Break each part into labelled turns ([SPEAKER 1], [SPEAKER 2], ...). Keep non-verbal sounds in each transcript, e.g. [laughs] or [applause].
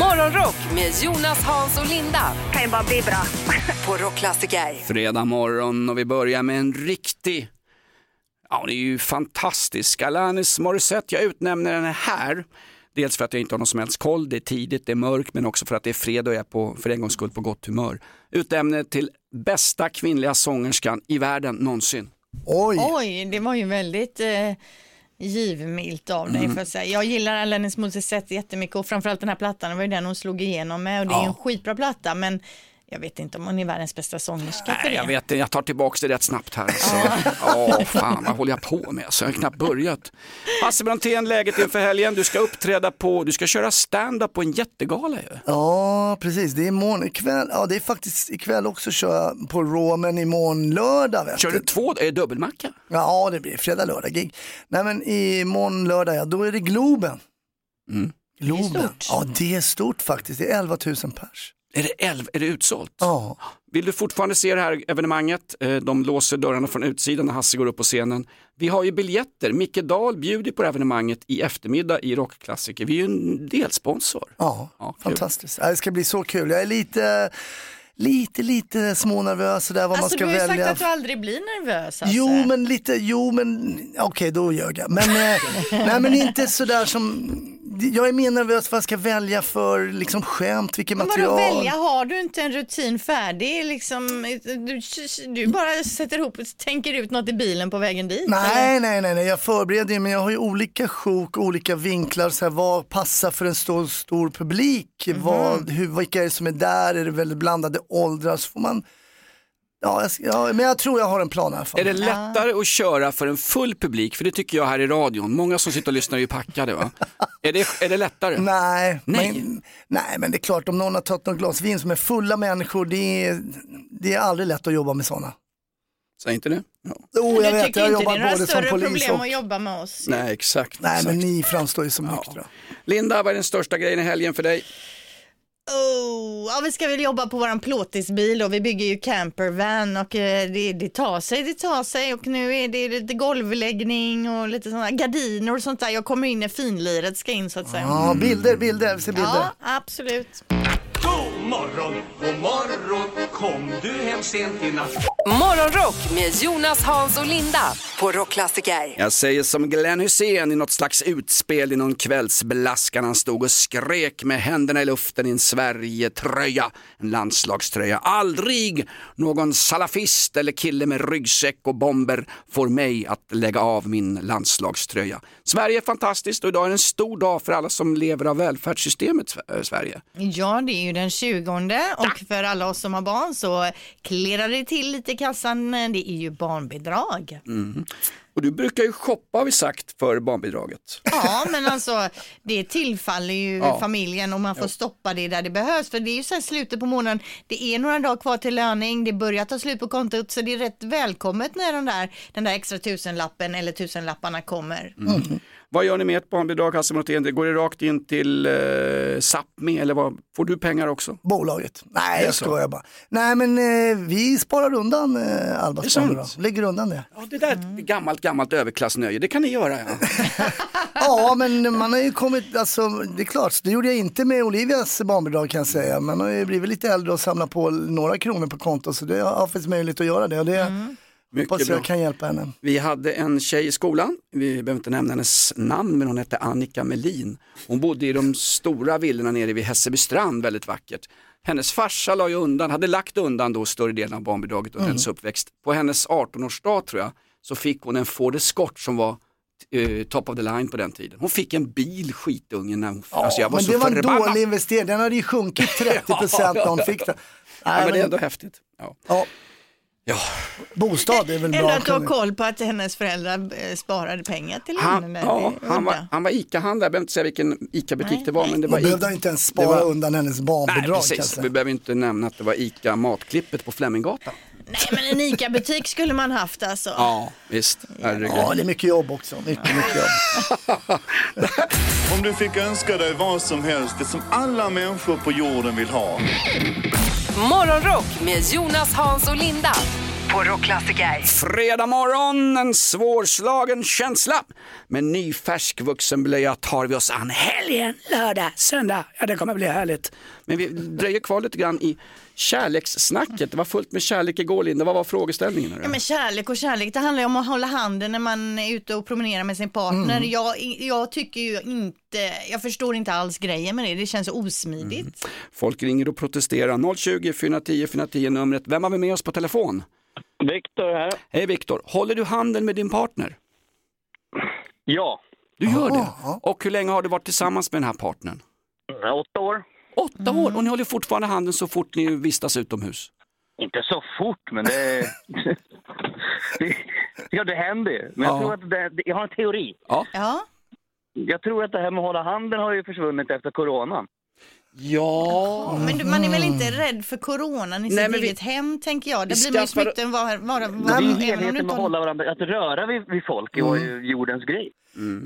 [SPEAKER 1] Morgonrock med Jonas, Hans och Linda.
[SPEAKER 2] kan ju bara bli bra.
[SPEAKER 1] På Rockklassiker.
[SPEAKER 3] Fredag morgon och vi börjar med en riktig, ja det är ju fantastisk. Alanis Morissette, jag utnämner den här. Dels för att jag inte har någon som helst koll, det är tidigt, det är mörkt, men också för att det är fredag och jag är på, för en gångs skull på gott humör. Utnämner till bästa kvinnliga sångerskan i världen någonsin.
[SPEAKER 4] Oj, det var ju väldigt eh, givmilt av
[SPEAKER 5] Mm.
[SPEAKER 4] dig. För att säga. Jag gillar Alanis Morissette jättemycket och framförallt den här plattan, det var ju den hon slog igenom med och det är ju en skitbra platta men jag vet inte om hon är världens bästa sångerska för
[SPEAKER 3] Nej, jag
[SPEAKER 4] det.
[SPEAKER 3] vet det, jag tar tillbaka det rätt snabbt här. alltså. Ja, fan vad håller jag på med? Så jag har knappt börjat. Hasse Brontén, läget inför helgen. Du ska uppträda på, du ska köra stand-up på en jättegala ju.
[SPEAKER 5] Ja, precis. Det är imorgon ikväll. Ja, det är faktiskt ikväll också kör jag på Raw, men imorgon lördag. Vet
[SPEAKER 3] Kör du två, är det dubbelmacka?
[SPEAKER 5] Ja, det blir fredag, lördag gig. Nej, men imorgon lördag, ja, då är det Globen.
[SPEAKER 3] Mm.
[SPEAKER 5] Globen.
[SPEAKER 4] Det är stort.
[SPEAKER 5] Ja, det är stort faktiskt. Det är 11 000 pers.
[SPEAKER 3] Är det, elv, är det utsålt?
[SPEAKER 5] Ja.
[SPEAKER 3] Vill du fortfarande se det här evenemanget? Eh, De låser dörrarna från utsidan när Hasse går upp på scenen. Vi har ju biljetter. Micke Dahl bjuder på det här evenemanget i eftermiddag i Rockklassiker. Vi är ju en delsponsor.
[SPEAKER 5] Ja,
[SPEAKER 3] Ja, kul.
[SPEAKER 5] fantastiskt. Ja, Det ska bli så kul. Jag är lite, lite, lite smånervös sådär vad
[SPEAKER 4] Alltså
[SPEAKER 5] man ska
[SPEAKER 4] du har ju
[SPEAKER 5] välja.
[SPEAKER 4] sagt att du aldrig blir nervös. Alltså.
[SPEAKER 5] Jo men lite, jo men okej då ljög jag. Men,
[SPEAKER 4] [laughs]
[SPEAKER 5] eh, nej, men inte sådär som, jag är mer nervös vad jag ska välja för liksom skämt, vilket
[SPEAKER 4] Men Vadå
[SPEAKER 5] material.
[SPEAKER 4] välja, har du inte en rutin färdig liksom, du, du bara sätter ihop och tänker ut något i bilen på vägen dit? eller?
[SPEAKER 5] Nej, nej, nej, nej, jag förbereder ju men jag har ju olika sjok, olika vinklar, så här, vad passar för en stor, stor publik?
[SPEAKER 4] Mhm.
[SPEAKER 5] Vad, hur, vilka är det som är där? Är det väldigt blandade åldrar? Så får man, ja, jag, ja, men jag tror jag har en plan i alla fall.
[SPEAKER 3] Är det lättare att köra för en full publik? För det tycker jag här i radion. Många som sitter och lyssnar är ju packade. Va? är, det, är det
[SPEAKER 4] Typ.
[SPEAKER 5] [laughs]
[SPEAKER 3] lättare?
[SPEAKER 5] Nej,
[SPEAKER 3] Nej.
[SPEAKER 5] Men, nej, men det är klart om någon har tagit något glas vin som är fulla människor, det är, det är aldrig lätt att jobba med sådana.
[SPEAKER 3] Säg inte det. Ja.
[SPEAKER 5] Jo, jag
[SPEAKER 4] du
[SPEAKER 5] vet,
[SPEAKER 4] tycker
[SPEAKER 5] jag har
[SPEAKER 4] inte det
[SPEAKER 5] jobbat
[SPEAKER 4] är några
[SPEAKER 5] både som
[SPEAKER 4] större
[SPEAKER 5] polis
[SPEAKER 4] problem
[SPEAKER 5] och...
[SPEAKER 4] att jobba med oss?
[SPEAKER 3] Nej, exakt.
[SPEAKER 5] Nej, men
[SPEAKER 3] exakt.
[SPEAKER 5] ni framstår ju som nyktra.
[SPEAKER 3] Linda, vad är den största grejen i helgen för dig?
[SPEAKER 4] Oh, ja, vi ska väl jobba på våran plåtisbil och vi bygger ju campervan och eh, det, det tar sig, det tar sig och nu är det lite golvläggning och lite sådana gardiner och sånt där. Jag kommer in när finliret ska in så att säga.
[SPEAKER 5] Ja, bilder, bilder, vi ser bilder.
[SPEAKER 4] Ja, absolut.
[SPEAKER 1] Morgonrock med Jonas, Hans och Linda. På Rockklassiker.
[SPEAKER 3] Jag säger som Glenn Hussein i något slags utspel i någon kvällsbelaskan. Han stod och skrek med händerna i luften i en Sverige-tröja, en landslagströja. Aldrig någon salafist eller kille med ryggsäck och bomber får mig att lägga av min landslagströja. Sverige är fantastiskt och idag är en stor dag för alla som lever av välfärdssystemet eh, Sverige.
[SPEAKER 4] Ja, det är ju den 20 och för alla oss som har barn så klirrar det till lite i kassan. Det är ju barnbidrag.
[SPEAKER 3] Och du brukar ju shoppa har vi sagt för barnbidraget.
[SPEAKER 4] Ja, men alltså det tillfaller ju
[SPEAKER 3] Ja.
[SPEAKER 4] familjen och man får stoppa det där det behövs. För det är ju sen slutet på månaden, det är några dagar kvar till löning, det börjar ta slut på kontot så det är rätt välkommet när den där, den där extra tusenlappen eller tusenlapparna kommer.
[SPEAKER 3] Mm. Vad gör ni med ett barnbidrag Hasse Brontén? Det Går det rakt in till eh, Sápmi eller vad? får du pengar också?
[SPEAKER 5] Bolaget. Nej, jag
[SPEAKER 3] så?
[SPEAKER 5] skojar bara. Nej, men eh, vi sparar undan eh,
[SPEAKER 3] Det är
[SPEAKER 5] Albas
[SPEAKER 3] sant.
[SPEAKER 5] barnbidrag. Lägger undan det.
[SPEAKER 3] Ja, det där är ett
[SPEAKER 5] Mm.
[SPEAKER 3] gammalt, gammalt överklassnöje, det kan
[SPEAKER 5] [laughs]
[SPEAKER 3] ni göra. Ja.
[SPEAKER 4] [laughs]
[SPEAKER 5] Ja, men man har ju kommit, alltså det är klart, det gjorde jag inte med Olivias barnbidrag kan jag säga. Man har ju blivit lite äldre och samlat på några kronor på konto så det har faktiskt möjlighet att göra det. Och det
[SPEAKER 4] Mm.
[SPEAKER 3] Mycket
[SPEAKER 5] hoppas
[SPEAKER 3] bra.
[SPEAKER 5] jag kan hjälpa henne.
[SPEAKER 3] Vi hade en tjej i skolan, vi behöver inte nämna hennes namn, men hon hette Annika Melin. Hon bodde i de stora villorna nere vid Hässelbystrand, väldigt vackert. Hennes farsa la ju undan, hade lagt undan då större delen av barnbidraget under
[SPEAKER 5] Mm.
[SPEAKER 3] hennes uppväxt. På hennes 18-årsdag tror jag, så fick hon en Ford Escort som var eh, top of the line på den tiden. Hon fick en bil skitungen när hon, alltså jag var
[SPEAKER 5] men
[SPEAKER 3] så
[SPEAKER 5] det var en
[SPEAKER 3] förbannad.
[SPEAKER 5] dålig investering, den hade ju
[SPEAKER 3] [laughs]
[SPEAKER 5] sjunkit 30 procent när hon fick den.
[SPEAKER 3] Ja,
[SPEAKER 5] Nej,
[SPEAKER 3] men det är
[SPEAKER 5] men,
[SPEAKER 3] ändå häftigt. Ja.
[SPEAKER 5] ja,
[SPEAKER 3] Ja.
[SPEAKER 5] bostad är väl
[SPEAKER 4] Eller
[SPEAKER 5] bra.
[SPEAKER 4] att du har
[SPEAKER 5] kunde-
[SPEAKER 4] koll på att hennes föräldrar eh, sparade pengar till
[SPEAKER 3] Han,
[SPEAKER 4] henne.
[SPEAKER 3] ja,
[SPEAKER 4] Det är
[SPEAKER 3] han, var,
[SPEAKER 4] udda.
[SPEAKER 3] han var ICA-handlare, jag behöver inte säga vilken ICA-butik det var. Men det var
[SPEAKER 5] Man
[SPEAKER 3] ICA.
[SPEAKER 5] behövde inte ens spara
[SPEAKER 3] det var-
[SPEAKER 5] undan hennes
[SPEAKER 3] Nej,
[SPEAKER 5] barnbidrag. kan jag
[SPEAKER 3] precis.
[SPEAKER 5] säga.
[SPEAKER 3] Vi behöver inte nämna att det var ICA Matklippet på Fleminggatan.
[SPEAKER 4] Nej men en ICA-butik skulle man haft alltså.
[SPEAKER 3] Ja, visst. Herregud.
[SPEAKER 5] Ja, det är mycket jobb också. Mycket, mycket jobb.
[SPEAKER 2] [laughs] Om du fick önska dig vad som helst, det som alla människor på jorden vill ha.
[SPEAKER 1] Morgonrock med Jonas, Hans och Linda. På Rockklassiker.
[SPEAKER 3] Fredag morgon, en svårslagen känsla. Med ny färsk vuxenblöja tar vi oss an helgen, lördag, söndag. Ja, det kommer bli härligt. Men vi dröjer kvar lite grann i kärlekssnacket. Det var fullt med kärlek igår, Linda. Vad var frågeställningen? nu då?
[SPEAKER 4] Ja, men kärlek och kärlek, det handlar ju om att hålla handen när man är ute och promenerar med sin partner. Jag, jag tycker ju inte, jag förstår inte alls grejen med det, det känns osmidigt.
[SPEAKER 3] Folk ringer och protesterar. 020 410 410 numret. Vem har vi med oss på telefon?
[SPEAKER 6] Viktor här.
[SPEAKER 3] Hej Viktor, håller du handen med din partner?
[SPEAKER 6] Ja,
[SPEAKER 3] Du gör det? Och hur länge har du varit tillsammans med den här partnern?
[SPEAKER 6] åtta år.
[SPEAKER 3] Åtta år och ni håller fortfarande handen så fort ni vistas utomhus?
[SPEAKER 6] Inte så fort, men
[SPEAKER 3] [laughs]
[SPEAKER 6] det... det ja, det händer ju. Men jag,
[SPEAKER 3] Ja.
[SPEAKER 6] tror att det, jag har en teori.
[SPEAKER 4] Ja,
[SPEAKER 6] Jag tror att det här med att hålla handen har ju försvunnit efter coronan.
[SPEAKER 3] Ja,
[SPEAKER 4] men du, man är väl inte rädd för coronan i
[SPEAKER 3] Nej,
[SPEAKER 4] sitt
[SPEAKER 3] men vi-
[SPEAKER 4] eget hem tänker jag. Det
[SPEAKER 3] vi
[SPEAKER 4] blir man ju
[SPEAKER 3] skaffar-
[SPEAKER 4] smittad var, var,
[SPEAKER 6] Det
[SPEAKER 4] var,
[SPEAKER 6] är ju
[SPEAKER 4] även om du
[SPEAKER 6] helheten
[SPEAKER 4] inte Mm.
[SPEAKER 6] med att
[SPEAKER 4] har...
[SPEAKER 6] hålla varandra. Att röra vid, vid folk var ju jordens grej.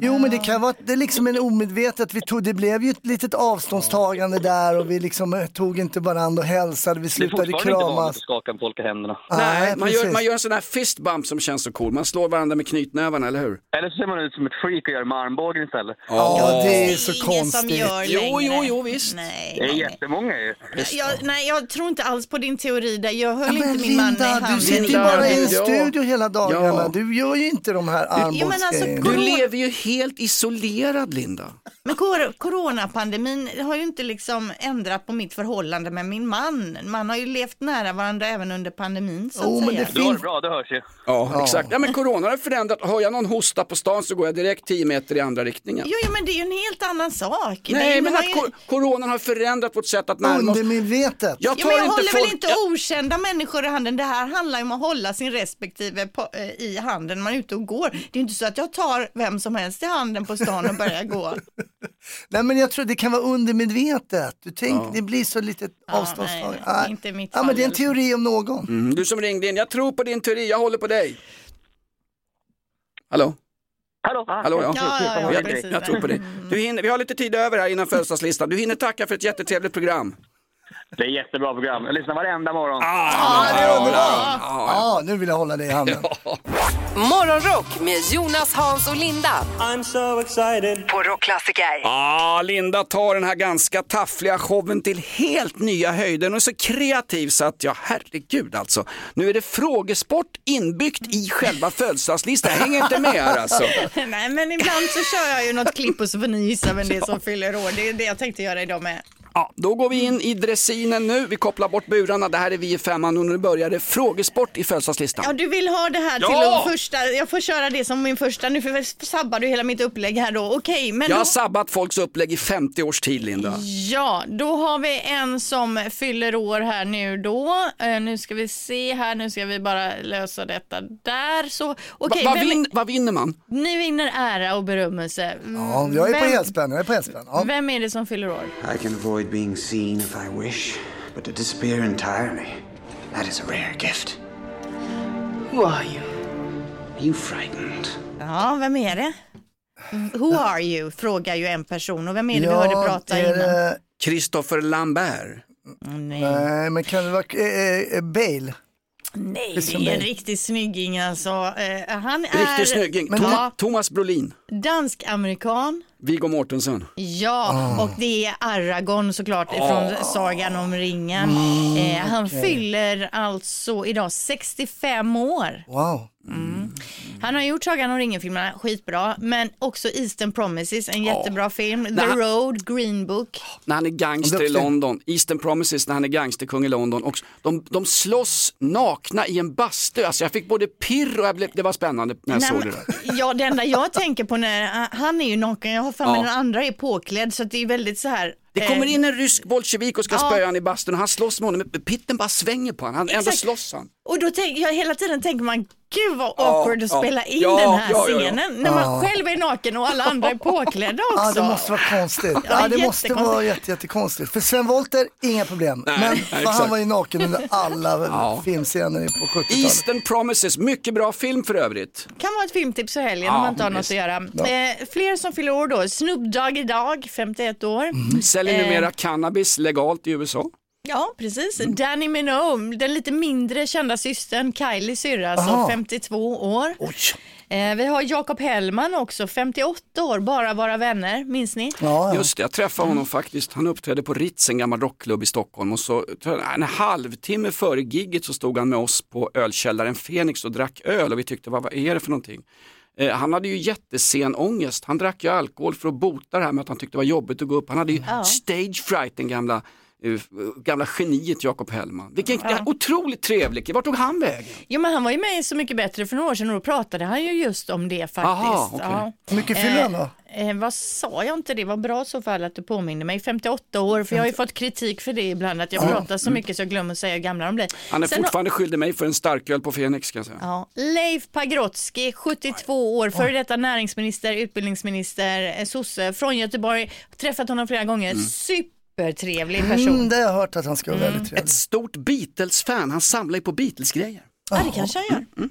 [SPEAKER 5] Jo, men det kan vara det är liksom en omedvetet. Vi tog, det blev ju ett litet avståndstagande där och vi liksom eh, tog inte varandra och hälsade. Vi
[SPEAKER 6] Det är
[SPEAKER 5] slutade
[SPEAKER 6] fortfarande inte vanligt
[SPEAKER 5] kramas.
[SPEAKER 6] att skaka folk i händerna.
[SPEAKER 3] Nej, man gör,
[SPEAKER 5] precis.
[SPEAKER 3] man gör en sån här fist bump som känns så cool. Man slår varandra med knytnävarna, eller hur?
[SPEAKER 6] Eller så ser man ut som ett freak och gör med armbågen istället.
[SPEAKER 5] Ja, det är
[SPEAKER 4] Det
[SPEAKER 5] så
[SPEAKER 4] är ingen som
[SPEAKER 5] konstigt.
[SPEAKER 4] gör
[SPEAKER 3] Jo,
[SPEAKER 4] längre.
[SPEAKER 3] jo, jo, visst.
[SPEAKER 4] Nej,
[SPEAKER 6] Det är
[SPEAKER 4] nej, nej.
[SPEAKER 6] jättemånga ju.
[SPEAKER 4] Jag, nej, jag tror inte alls på din teori där. Jag höll
[SPEAKER 5] men
[SPEAKER 4] inte min man i
[SPEAKER 5] Linda,
[SPEAKER 4] handen.
[SPEAKER 5] du sitter ju
[SPEAKER 3] Linda,
[SPEAKER 5] bara i en
[SPEAKER 3] ja.
[SPEAKER 5] studio hela dagarna.
[SPEAKER 3] Ja.
[SPEAKER 5] Du gör ju inte de här
[SPEAKER 4] Jo, men alltså,
[SPEAKER 5] armbågsgrejerna.
[SPEAKER 3] Du
[SPEAKER 4] Corona-
[SPEAKER 3] lever ju helt isolerad, Linda.
[SPEAKER 4] Men kor- coronapandemin har ju inte liksom ändrat på mitt förhållande med min man. Man har ju levt nära varandra även under pandemin så att
[SPEAKER 5] Jo, men
[SPEAKER 4] säga.
[SPEAKER 5] det
[SPEAKER 6] Du har det
[SPEAKER 5] finns...
[SPEAKER 6] bra, det hörs ju.
[SPEAKER 3] Ja, exakt. Ja, men corona har förändrat. Hör jag någon hosta på stan så går jag direkt 10 meter i andra riktningen.
[SPEAKER 4] Jo, jo, men det är ju en helt annan sak. det,
[SPEAKER 3] Nej, men
[SPEAKER 4] har
[SPEAKER 3] att
[SPEAKER 4] ju...
[SPEAKER 3] kor- coronan har förändrat vårt sätt att närma oss.
[SPEAKER 5] Undermedvetet.
[SPEAKER 3] Jag
[SPEAKER 4] Ja,
[SPEAKER 3] tar
[SPEAKER 4] men jag
[SPEAKER 3] inte
[SPEAKER 4] håller
[SPEAKER 3] folk...
[SPEAKER 4] väl inte okända människor i handen. Det här handlar ju om att hålla sin respektive på, eh, i handen när man är ute och går. Det är ju inte så att jag tar vem som helst i handen på stan och
[SPEAKER 5] [laughs]
[SPEAKER 4] börjar gå.
[SPEAKER 5] Nej, men jag tror det kan vara undermedvetet. Du tänk, Det blir så lite avståndstagande.
[SPEAKER 4] nej, det är inte mitt
[SPEAKER 5] ja, men
[SPEAKER 4] fall
[SPEAKER 5] det är en
[SPEAKER 4] i alla
[SPEAKER 5] teori om någon.
[SPEAKER 3] Mm, Du som ringde in, jag tror på din teori, jag håller på dig. Hallå?
[SPEAKER 6] Hallå!
[SPEAKER 3] Hallå, ja.
[SPEAKER 4] Ah. Ja, ja, ja,
[SPEAKER 3] jag,
[SPEAKER 4] precis.
[SPEAKER 3] jag tror på dig. Du hinner, vi har lite tid över här innan födelsedagslistan. Du hinner tacka för ett jättetrevligt program.
[SPEAKER 6] Det är jättebra program. Jag lyssnar varenda morgon.
[SPEAKER 7] Ah.
[SPEAKER 5] Ja, det är underbart. Ja, nu vill jag hålla dig i handen.
[SPEAKER 1] Morgonrock med Jonas, Hans och Linda. På Rockklassiker.
[SPEAKER 3] Ah, Linda tar den här ganska taffliga showen till helt nya höjder. Hon är så kreativ så att, ja herregud alltså. Nu är det frågesport inbyggt i själva födelsedagslistan. Jag hänger inte med här alltså.
[SPEAKER 4] [laughs] nej, men ibland så kör jag ju något klipp och så får ni gissa vem det är som fyller år. Det är det jag tänkte göra idag med.
[SPEAKER 3] Ja, då går vi in i dressinen nu. Vi kopplar bort burarna. Det här är vi i femman och nu börjar det frågesport i födelsedagslistan.
[SPEAKER 4] Ja, du vill ha det här till
[SPEAKER 3] Ja!
[SPEAKER 4] och första. Jag får köra det som min första. Nu för- sabbar du hela mitt upplägg här då. Okej, men
[SPEAKER 3] Jag
[SPEAKER 4] då,
[SPEAKER 3] har sabbat folks upplägg i 50 års tid, Linda.
[SPEAKER 4] ja, då har vi en som fyller år här nu då. Eh, nu ska vi se här. Nu ska vi bara lösa detta där. Så okej,
[SPEAKER 3] Vad
[SPEAKER 4] vem-
[SPEAKER 3] vin, vad vinner man?
[SPEAKER 4] ni vinner ära och berömmelse.
[SPEAKER 5] Ja, jag är på
[SPEAKER 4] Vem-
[SPEAKER 5] helspänn. Jag är på helspänn. Ja.
[SPEAKER 4] Vem är det som fyller år?
[SPEAKER 8] I can avoid being seen if I wish, but to disappear entirely, that is a rare gift. Who are you? Are you frightened?
[SPEAKER 4] Ja, vem är det? Who are you? Frågar ju en person. Och vem är det vi
[SPEAKER 5] Ja,
[SPEAKER 4] hörde prata
[SPEAKER 5] är
[SPEAKER 4] innan?
[SPEAKER 5] det-
[SPEAKER 3] Christopher Lambert.
[SPEAKER 4] Nej,
[SPEAKER 5] Nej, men kan det vara eh, eh, Bale?
[SPEAKER 4] nej,
[SPEAKER 5] Christian
[SPEAKER 4] det är en
[SPEAKER 5] Bale.
[SPEAKER 4] riktig snygging alltså. Eh, han är
[SPEAKER 3] Liksom Riktig snygging.
[SPEAKER 5] men
[SPEAKER 3] Toma,
[SPEAKER 4] ja.
[SPEAKER 3] Thomas Brolin.
[SPEAKER 4] dansk-amerikan.
[SPEAKER 3] Viggo Mortensen.
[SPEAKER 4] Ja,
[SPEAKER 3] Ah.
[SPEAKER 4] och det är Aragorn såklart från Sagan om ringen.
[SPEAKER 3] Mm,
[SPEAKER 4] eh, han fyller alltså idag 65 år.
[SPEAKER 5] Wow.
[SPEAKER 4] Han har gjort Sagan om ringen-filmerna skitbra, men också Eastern Promises, en jättebra film. The
[SPEAKER 3] han-
[SPEAKER 4] Road, Green Book.
[SPEAKER 3] När han är gangster i
[SPEAKER 5] Duktig.
[SPEAKER 3] London. Eastern Promises när han är gangsterkung i London. Och de, de slåss nakna i en bastu. Alltså jag fick både pirr och jag blev, det var spännande när jag
[SPEAKER 4] Nej,
[SPEAKER 3] såg det
[SPEAKER 4] men-
[SPEAKER 3] där.
[SPEAKER 4] Ja, det enda jag tänker på när han är ju naken, jag har för mig
[SPEAKER 3] Ja.
[SPEAKER 4] den andra är påklädd så att det är väldigt så här.
[SPEAKER 3] Det
[SPEAKER 4] eh,
[SPEAKER 3] kommer in en rysk bolsjevik och ska
[SPEAKER 4] Ja.
[SPEAKER 3] spöa han i bastun och han slåss med honom. men Pitten bara svänger på honom. Han, ändå
[SPEAKER 4] Exakt.
[SPEAKER 3] slåss han.
[SPEAKER 4] Och då tänk, jag hela tiden tänker man Gud vad awkward
[SPEAKER 3] ja.
[SPEAKER 4] att spela in
[SPEAKER 3] Ja,
[SPEAKER 4] den här
[SPEAKER 3] ja, ja, ja.
[SPEAKER 4] scenen när man själv är naken och alla
[SPEAKER 3] [laughs]
[SPEAKER 4] andra är påklädda också.
[SPEAKER 5] Ja, det måste vara konstigt.
[SPEAKER 4] Ja,
[SPEAKER 5] Ja, det måste
[SPEAKER 4] jättekonstigt.
[SPEAKER 5] vara jätte, jättekonstigt. För Sven Wollter, inga problem.
[SPEAKER 3] Nej,
[SPEAKER 5] Men
[SPEAKER 3] nej,
[SPEAKER 5] för
[SPEAKER 3] exakt.
[SPEAKER 5] han var ju naken under
[SPEAKER 4] [laughs]
[SPEAKER 5] alla filmscener på 70-talet.
[SPEAKER 3] Eastern Promises, mycket bra film för övrigt.
[SPEAKER 4] Kan vara ett filmtips för helgen
[SPEAKER 3] Ja,
[SPEAKER 4] om man inte har
[SPEAKER 3] men
[SPEAKER 4] något att
[SPEAKER 3] visst.
[SPEAKER 4] göra.
[SPEAKER 5] Ja.
[SPEAKER 4] Eh, fler som fyller år då. Snoop Dogg idag, 51 år.
[SPEAKER 5] Mhm.
[SPEAKER 3] Säljer
[SPEAKER 4] Eh.
[SPEAKER 3] numera cannabis legalt i USA.
[SPEAKER 4] Ja, precis.
[SPEAKER 3] Mm.
[SPEAKER 4] Danny Minogue, den lite mindre kända systern, Kylie syrra, som
[SPEAKER 5] Aha.
[SPEAKER 4] 52 år.
[SPEAKER 5] Oj.
[SPEAKER 4] Eh, vi har Jakob Hellman också, 58 år, bara våra vänner, minns ni?
[SPEAKER 5] Ja, ja.
[SPEAKER 3] Just det, jag träffade honom faktiskt. Han uppträdde på Ritz, en gammal rockklubb i Stockholm. Och så, en halvtimme före gigget så stod han med oss på ölkällaren Fenix och drack öl och vi tyckte, vad, vad är det för någonting? Eh, han hade ju jättesen ångest. Han drack ju alkohol för att bota det här med att han tyckte det var jobbigt att gå upp. Han hade ju stage fright, den gamla eh, gamla geniet Jakob Hellman. Vilken otroligt trevlig kille. Vart tog han vägen?
[SPEAKER 4] Jo, men han var ju med i Så mycket bättre för några år sedan och då pratade han ju just om det faktiskt.
[SPEAKER 3] Aha, okej.
[SPEAKER 4] Ja.
[SPEAKER 5] Hur mycket fyller han då?
[SPEAKER 4] Eh, vad sa jag inte det? Vad bra i så fall att du påminner mig. 58 år, för jag har ju fått kritik för det ibland, att jag pratar så mycket så jag glömmer att säga hur gamla de blir.
[SPEAKER 3] Han är
[SPEAKER 4] Sen har-
[SPEAKER 3] fortfarande skyldig mig för en starköl på Fenix kan jag säga.
[SPEAKER 4] Ja. Leif Pagrotsky, 72 år, före detta näringsminister, utbildningsminister, eh, sosse från Göteborg. Träffat honom flera gånger.
[SPEAKER 3] Mm.
[SPEAKER 4] Supertrevlig person. Mm.
[SPEAKER 5] Mm, det har jag hört att han ska vara väldigt trevlig.
[SPEAKER 3] Ett stort Beatles-fan, han samlar ju på Beatles-grejer.
[SPEAKER 4] Ja, det kanske han
[SPEAKER 3] Mm,
[SPEAKER 4] gör.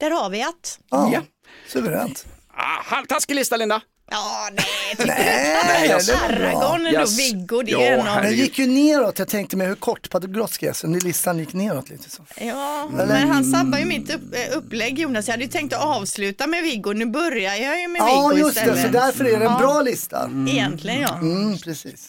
[SPEAKER 4] Där har vi att.
[SPEAKER 5] Ja, suveränt.
[SPEAKER 3] Ah, halvtaskig lista Linda!
[SPEAKER 4] Ja, nej, tycker
[SPEAKER 5] Nej,
[SPEAKER 4] du?
[SPEAKER 5] det var bra.
[SPEAKER 4] Aragon ändå,
[SPEAKER 3] Yes.
[SPEAKER 4] Viggo, det
[SPEAKER 3] Ja,
[SPEAKER 4] är en av...
[SPEAKER 5] Den
[SPEAKER 3] herregud.
[SPEAKER 5] gick ju neråt, jag tänkte mig hur kort Padergrosky är, så den listan gick neråt lite. Så.
[SPEAKER 4] Ja,
[SPEAKER 5] Mm.
[SPEAKER 4] men han sabbar ju mitt upp, eh, upplägg Jonas. Jag hade ju tänkt att avsluta med Viggo, nu börjar jag ju med
[SPEAKER 5] Ja,
[SPEAKER 4] Viggo
[SPEAKER 5] just det, så
[SPEAKER 4] istället.
[SPEAKER 5] därför är det en
[SPEAKER 4] Ja.
[SPEAKER 5] bra lista.
[SPEAKER 4] Egentligen ja.
[SPEAKER 5] Mm, precis.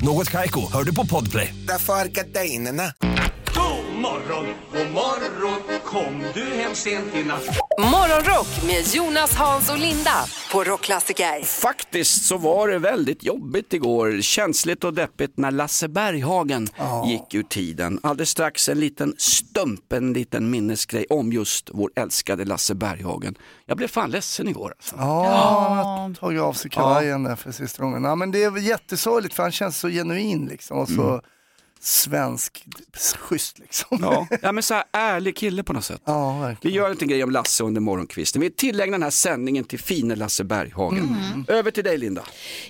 [SPEAKER 9] Något Kaiko, hör du på Podplay.
[SPEAKER 8] Därför är gardinerna.
[SPEAKER 1] Morgonrock med Jonas, Hans och Linda på Rockklassiker.
[SPEAKER 3] Faktiskt så var det väldigt jobbigt igår, känsligt och deppigt när Lasse Berghagen gick ur tiden. Alldeles strax en liten stump, en liten minnesgrej om just vår älskade Lasse Berghagen. Jag blev fan ledsen igår. Alltså.
[SPEAKER 5] Ja, han tog av sig kavajen där för sista gången. Ja, men det är väl jättesorgligt för han känns så genuin liksom och så
[SPEAKER 10] Mm.
[SPEAKER 5] svensk, schysst liksom.
[SPEAKER 3] Ja. ja, men så här ärlig kille på något sätt.
[SPEAKER 5] Ja,
[SPEAKER 3] Vi
[SPEAKER 5] verkligen.
[SPEAKER 3] gör en liten grej om Lasse under morgonkvisten. Vi tillägnar den här sändningen till fine Lasse Berghagen. Över till dig Linda.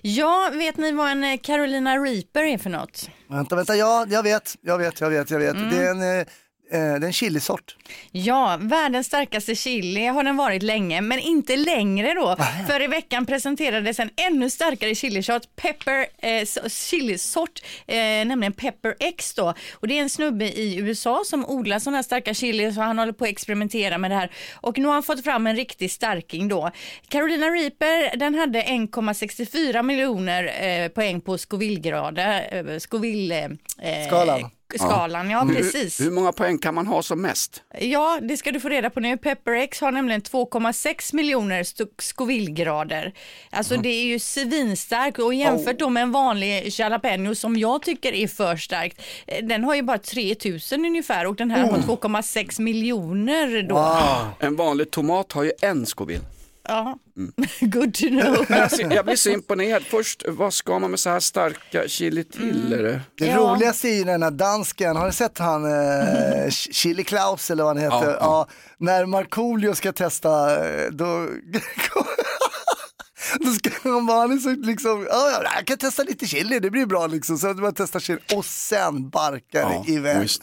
[SPEAKER 4] Ja, vet ni vad en eh, Carolina Reaper är för något?
[SPEAKER 5] [laughs] Vänta, vänta, ja, jag vet, jag vet, jag vet, jag vet.
[SPEAKER 10] Mm.
[SPEAKER 5] Det är en, eh, eh, det är en chilisort.
[SPEAKER 4] Ja, världens starkaste chili har den varit länge, men inte längre då. För i veckan presenterades en ännu starkare chilisort, pepper, eh, so- chilisort, eh, nämligen Pepper X då. Och det är en snubbe i USA som odlar sådana här starka chili, så han håller på att experimentera med det här. Och nu har han fått fram en riktig starking då. Carolina Reaper, den hade 1,64 miljoner eh, poäng på Scoville-grader, eh, Scoville... Eh,
[SPEAKER 5] Skalan.
[SPEAKER 4] Skalan, ja, precis.
[SPEAKER 3] Hur, hur många poäng kan man ha som mest?
[SPEAKER 4] Ja, det ska du få reda på nu. Pepper X har nämligen 2,6 miljoner stu- Scoville-grader. Alltså det är ju svinstark och jämfört då med en vanlig jalapeno som jag tycker är för starkt. eh, Den har ju bara 3000 ungefär och den här har 2,6 miljoner då.
[SPEAKER 3] En vanlig tomat har ju en Scoville.
[SPEAKER 4] Ja, [laughs] good to know.
[SPEAKER 3] Alltså, jag blir så imponerad. Först, vad ska man med så här starka chili
[SPEAKER 5] Mm.
[SPEAKER 3] till? är det?
[SPEAKER 5] Det
[SPEAKER 4] Ja.
[SPEAKER 5] roligaste är ju den här dansken, har ni sett han eh, Chili Klaus eller vad han heter?
[SPEAKER 3] Ja,
[SPEAKER 5] Ja,
[SPEAKER 3] ja.
[SPEAKER 5] när Markoolio ska testa eh, då, [laughs] då ska han bara, han är så liksom, ja, ja, jag kan testa lite chili, det blir bra liksom. Så att man testar chili och sen barkar det iväg.
[SPEAKER 3] visst.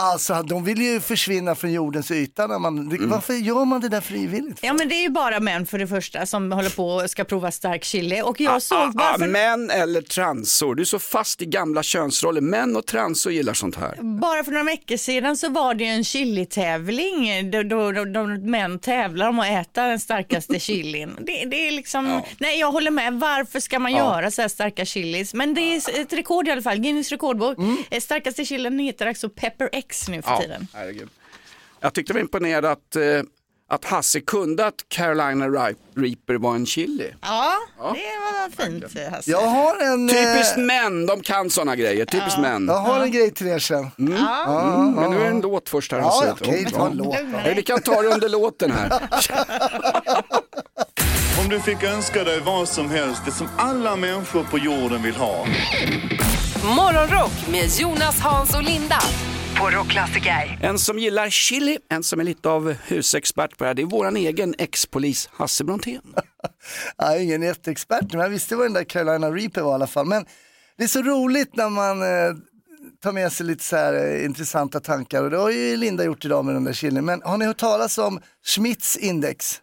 [SPEAKER 5] Alltså de vill ju försvinna från jordens yta. När man, Varför gör man det där frivilligt?
[SPEAKER 4] Ja men det är ju bara män för det första som håller på och ska prova stark chili och
[SPEAKER 3] Ah,
[SPEAKER 4] jag såg bara för,
[SPEAKER 3] Män eller transor, du är så fast i gamla könsroller. Män och transor gillar sånt här.
[SPEAKER 4] bara för några veckor sedan så var det ju en chilitävling då, då, då, då män tävlar om att äta den starkaste chilin. Det, det är liksom, nej jag håller med, varför ska man
[SPEAKER 3] Ja.
[SPEAKER 4] göra så här starka chilis? Men det är ett rekord i alla fall, Guinness rekordbok. Eh, Starkaste chilin heter alltså Pepper X nu för tiden.
[SPEAKER 3] herregud. Jag tyckte det var imponerad att, eh, att Hasse kunde att Carolina Ri- Reaper var en chili.
[SPEAKER 4] Ja, det var fint Hasse.
[SPEAKER 5] Jag har en...
[SPEAKER 3] Typiskt
[SPEAKER 5] eh,
[SPEAKER 3] män, de kan sådana grejer. Typiskt män.
[SPEAKER 5] Jag har en grej till er sen.
[SPEAKER 3] Mm, men nu är det en låt först här.
[SPEAKER 5] Ja,
[SPEAKER 3] Hasse.
[SPEAKER 5] okej, ta en låt då.
[SPEAKER 3] Nej, Vi kan ta det under låten här.
[SPEAKER 5] [laughs]
[SPEAKER 2] Om du fick önska dig vad som helst, det som alla människor på jorden vill ha.
[SPEAKER 1] Morgonrock med Jonas, Hans och Linda. På Rockklassiker.
[SPEAKER 3] En som gillar chili, en som är lite av husexpert på det här, det är våran egen ex-polis Hasse Brontén.
[SPEAKER 5] Jag är ingen jätteexpert, men jag visste vad den där Carolina Reaper var i alla fall. Men det är så roligt när man eh, tar med sig lite så här eh, intressanta tankar och det har ju Linda gjort idag med den där chilin. Men har ni hört talas om Schmitz index?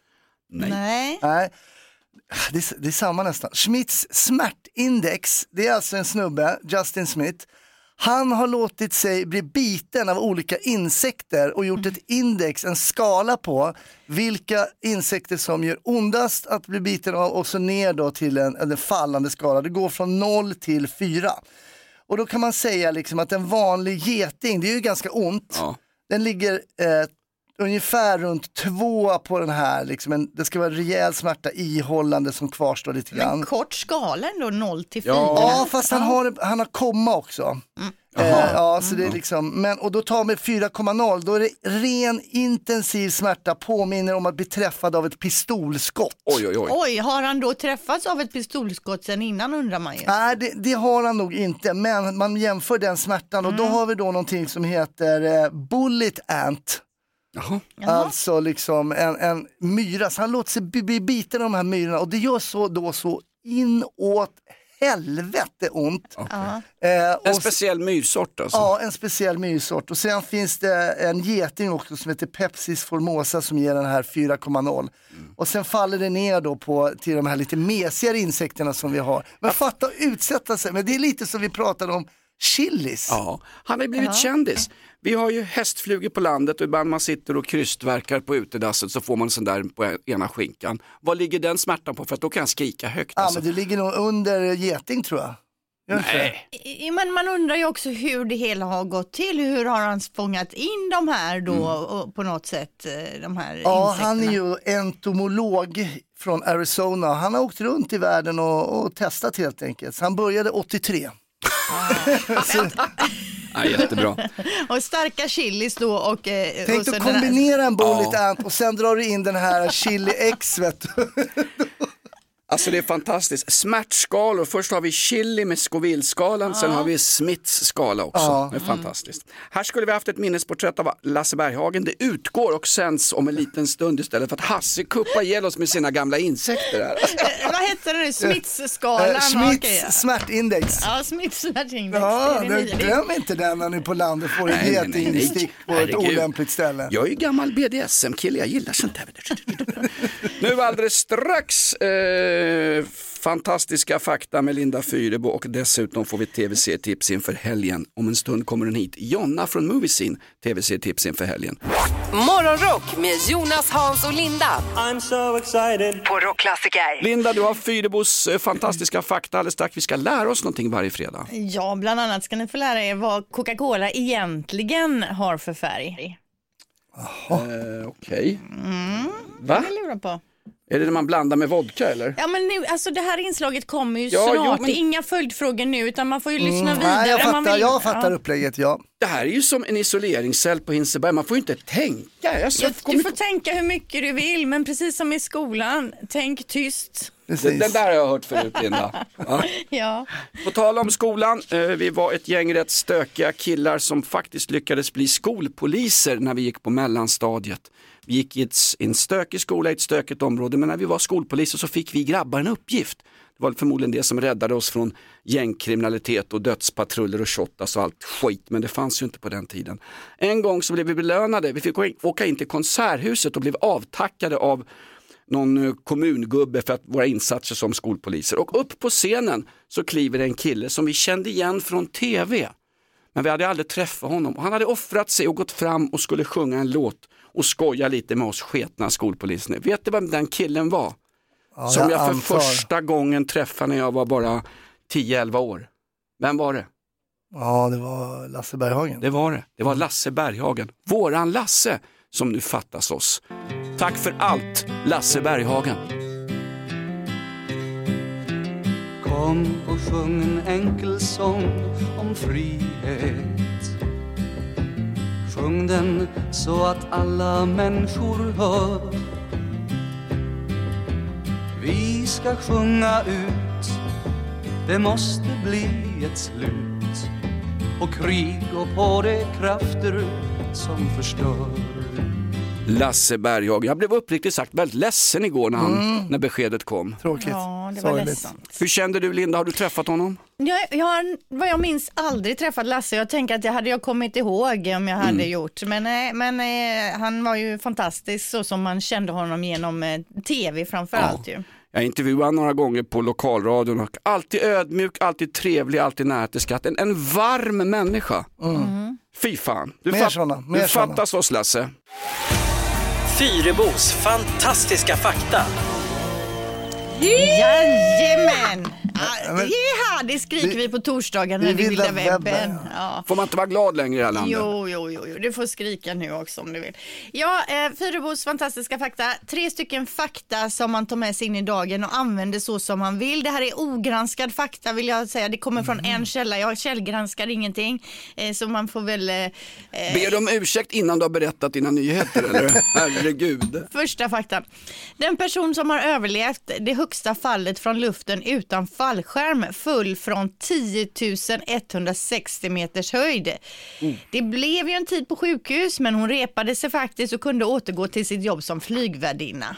[SPEAKER 4] Nej.
[SPEAKER 5] Nej. Det är, det är samma nästan. Schmitz smärtindex, det är alltså en snubbe, Justin Smith. Han har låtit sig bli biten av olika insekter och gjort ett index, en skala på vilka insekter som gör ondast att bli biten av och så ner då till en, en fallande skala. Det går från 0 till 4. Och då kan man säga liksom att en vanlig geting, det är ju ganska ont. Den ligger eh, ungefär runt två på den här. Liksom en, det ska vara rejäl smärta ihållande som kvarstår lite grann.
[SPEAKER 4] Men kort skala ändå 0 till 4.
[SPEAKER 5] Ja, fast han har, han har komma också. Eh, ja, så
[SPEAKER 3] Mm.
[SPEAKER 5] det är liksom, men, och då tar man 4,0, då är det ren intensiv smärta, påminner om att bli träffad av ett pistolskott.
[SPEAKER 3] Oj, oj, oj.
[SPEAKER 4] Oj, har han då träffats av ett pistolskott sen innan undrar man ju.
[SPEAKER 5] Nej, det, det har han nog inte, men man jämför den smärtan och då har vi då någonting som heter eh, bullet ant.
[SPEAKER 3] Jaha.
[SPEAKER 5] Alltså liksom en, en myra, så han låter sig bli bli biten av de här myrorna och det gör så då så inåt helvete ont. Eh, och
[SPEAKER 3] En
[SPEAKER 5] s-
[SPEAKER 3] speciell myrsort alltså.
[SPEAKER 5] Ja, en speciell myrsort. Och sen finns det en geting också som heter Pepsis formosa som ger den här 4,0. Och sen faller det ner då på, till de här lite mesigare insekterna som vi har. Men fatta att utsätta sig, men det är lite som vi pratade om chilis.
[SPEAKER 3] Ja, han har ju blivit kändis. Vi har ju hästflugor på landet och ibland man sitter och krystverkar på utedasset så får man en sån där på ena skinkan. Vad ligger den smärtan på? För att då kan han skrika högt.
[SPEAKER 5] Ja,
[SPEAKER 3] Alltså.
[SPEAKER 5] men det ligger nog under geting tror jag. Gör det inte det?
[SPEAKER 3] Nej.
[SPEAKER 4] I- Men man undrar ju också hur det hela har gått till. Hur har han fångat in de här då och på något sätt, eh, de här
[SPEAKER 5] Mm. Ja,
[SPEAKER 4] insekterna?
[SPEAKER 5] han är ju entomolog från Arizona. Han har åkt runt i världen och, och testat helt enkelt. Så han började 83.
[SPEAKER 3] Ja, jättebra.
[SPEAKER 4] Och starka chilis då och... eh, och
[SPEAKER 5] Tänk
[SPEAKER 4] så
[SPEAKER 5] att
[SPEAKER 4] den här-
[SPEAKER 5] kombinera en bullet
[SPEAKER 3] Ja.
[SPEAKER 5] ant och sen drar du in den här chili X vet du.
[SPEAKER 3] Alltså det är fantastiskt. Smärtskalor, först har vi chili med Scoville-skalan, sen har vi Smiths skala också. Det är fantastiskt. Här skulle vi haft ett minnesporträtt av Lasse Berghagen. Det utgår och sänds om en liten stund istället för att Hasse kuppar ihjäl oss med sina gamla insekter här.
[SPEAKER 4] Eh, [laughs] Vad heter det nu? Smittskalan?
[SPEAKER 5] Eh,
[SPEAKER 4] Okej, ja.
[SPEAKER 5] Schmitts smärtindex.
[SPEAKER 4] Ja, smittsmärtindex.
[SPEAKER 5] Ja,
[SPEAKER 4] det är det
[SPEAKER 5] nu,
[SPEAKER 4] nya.
[SPEAKER 5] glöm inte den när ni är på landet får en
[SPEAKER 3] Nej, nej, nej, nej.
[SPEAKER 5] getingstick på ett
[SPEAKER 3] Herregud.
[SPEAKER 5] olämpligt ställe.
[SPEAKER 3] Jag är ju gammal BDSM-kille, jag gillar sånt här. Nu alldeles strax eh, fantastiska fakta med Linda Fyrebo och dessutom får vi tv-serietips inför helgen. Om en stund kommer den hit, Jonna från Moviesin, tv-serietips inför helgen.
[SPEAKER 1] Morgonrock med Jonas, Hans och Linda.
[SPEAKER 7] I'm so excited.
[SPEAKER 1] På Rockklassiker.
[SPEAKER 3] Linda, du har Fyrebos eh, fantastiska fakta alldeles strax. Vi ska lära oss någonting varje fredag.
[SPEAKER 4] Ja, bland annat ska ni få lära er vad Coca-Cola egentligen har för färg.
[SPEAKER 3] Eh, Okej.
[SPEAKER 5] Mm.
[SPEAKER 3] Va?
[SPEAKER 4] Det lurar på.
[SPEAKER 3] Är det när man blandar med vodka eller?
[SPEAKER 4] Ja men nu, alltså det här inslaget kommer ju
[SPEAKER 3] Ja,
[SPEAKER 4] snart.
[SPEAKER 3] jo, men-
[SPEAKER 4] Det är inga följdfrågor nu utan man får ju lyssna vidare.
[SPEAKER 5] Mm. Nej, jag
[SPEAKER 4] om man
[SPEAKER 5] fattar,
[SPEAKER 4] vill.
[SPEAKER 5] jag fattar
[SPEAKER 4] Ja.
[SPEAKER 5] upplägget, ja.
[SPEAKER 3] Det här är ju som en isoleringscell på Hinseberg. Man får ju inte tänka. Jag
[SPEAKER 4] Du,
[SPEAKER 3] så
[SPEAKER 4] du
[SPEAKER 3] kommer
[SPEAKER 4] får
[SPEAKER 3] på-
[SPEAKER 4] tänka hur mycket du vill men precis som i skolan, tänk tyst.
[SPEAKER 3] Den
[SPEAKER 5] Precis.
[SPEAKER 3] den där har jag hört förut Linda. [laughs] Ja.
[SPEAKER 4] Ja.
[SPEAKER 3] På tal om skolan, eh, vi var ett gäng rätt stökiga killar som faktiskt lyckades bli skolpoliser när vi gick på mellanstadiet. Vi gick i ett, i en stökig skola i ett stökigt område men när vi var skolpoliser så fick vi grabbar en uppgift. Det var förmodligen det som räddade oss från gängkriminalitet och dödspatruller och shottas och allt skit, men det fanns ju inte på den tiden. En gång så blev vi belönade, vi fick åka in till Konserthuset och blev avtackade av någon eh, kommungubbe för att våra insatser som skolpoliser. Och upp på scenen så kliver det en kille som vi kände igen från tv. Men vi hade aldrig träffat honom. Och Han hade offrat sig och gått fram och skulle sjunga en låt och skoja lite med oss sketna skolpoliser. nu. Vet du vem den killen var?
[SPEAKER 5] Ja,
[SPEAKER 3] som jag för
[SPEAKER 5] antar.
[SPEAKER 3] första gången träffade när jag var bara 10-11 år. Vem var det?
[SPEAKER 5] Ja, det var Lasse Berghagen.
[SPEAKER 3] Det var det. Det
[SPEAKER 5] Mm.
[SPEAKER 3] var Lasse Berghagen. Våran Lasse som nu fattas oss. Tack för allt, Lasse Berghagen.
[SPEAKER 7] Kom och sjung en enkel sång om frihet Sjung den så att alla människor hör Vi ska sjunga ut Det måste bli ett slut på krig och på de krafter som förstör
[SPEAKER 3] Lasse Berghagen. Jag blev uppriktigt sagt väldigt ledsen igår när, han,
[SPEAKER 4] Mm.
[SPEAKER 3] när beskedet kom.
[SPEAKER 5] Tråkigt.
[SPEAKER 4] Ja, det var Sorgligt. ledsamt.
[SPEAKER 3] Hur kände du Linda, har du träffat honom?
[SPEAKER 4] Jag, jag har, vad jag minns, aldrig träffat Lasse. Jag tänker att det hade jag kommit ihåg om jag hade gjort. Men, eh, men eh, han var ju fantastisk så som man kände honom genom eh, tv framför allt ju.
[SPEAKER 3] Jag intervjuade honom några gånger på lokalradion och alltid ödmjuk, alltid trevlig, alltid nära till skratt. En, en varm människa. Fy fan. Du,
[SPEAKER 5] Mm. Mer
[SPEAKER 3] fat-
[SPEAKER 5] såna,
[SPEAKER 3] du
[SPEAKER 5] mer såna.
[SPEAKER 3] fattas oss Lasse.
[SPEAKER 11] Fyrebos fantastiska fakta.
[SPEAKER 4] Jajamän! Ah,
[SPEAKER 3] men-
[SPEAKER 4] Jeha, det skriker
[SPEAKER 3] Vi-
[SPEAKER 4] vi på torsdagen
[SPEAKER 3] vi
[SPEAKER 4] när det är
[SPEAKER 3] vilda
[SPEAKER 4] vilda
[SPEAKER 3] webben,
[SPEAKER 4] webben. Ja.
[SPEAKER 3] Får man inte vara glad längre i det här landet?
[SPEAKER 4] Jo, jo, jo, jo, du får skrika nu också om du vill. Ja, eh, Fyrebos fantastiska fakta. Tre stycken fakta som man tar med sig in i dagen och använder så som man vill. Det här är ogranskad fakta vill jag säga. Det kommer från en källa. Jag källgranskar ingenting. Eh, så man får väl... Eh, eh,
[SPEAKER 3] Ber du om ursäkt innan du har berättat dina nyheter
[SPEAKER 5] [laughs]
[SPEAKER 3] eller? Herregud.
[SPEAKER 4] Första faktan. Den person som har överlevt det högsta fallet från luften utan fallskärm föll från 10 160 meters höjd. Det blev ju en tid på sjukhus men hon repade sig faktiskt och kunde återgå till sitt jobb som flygvärdinna.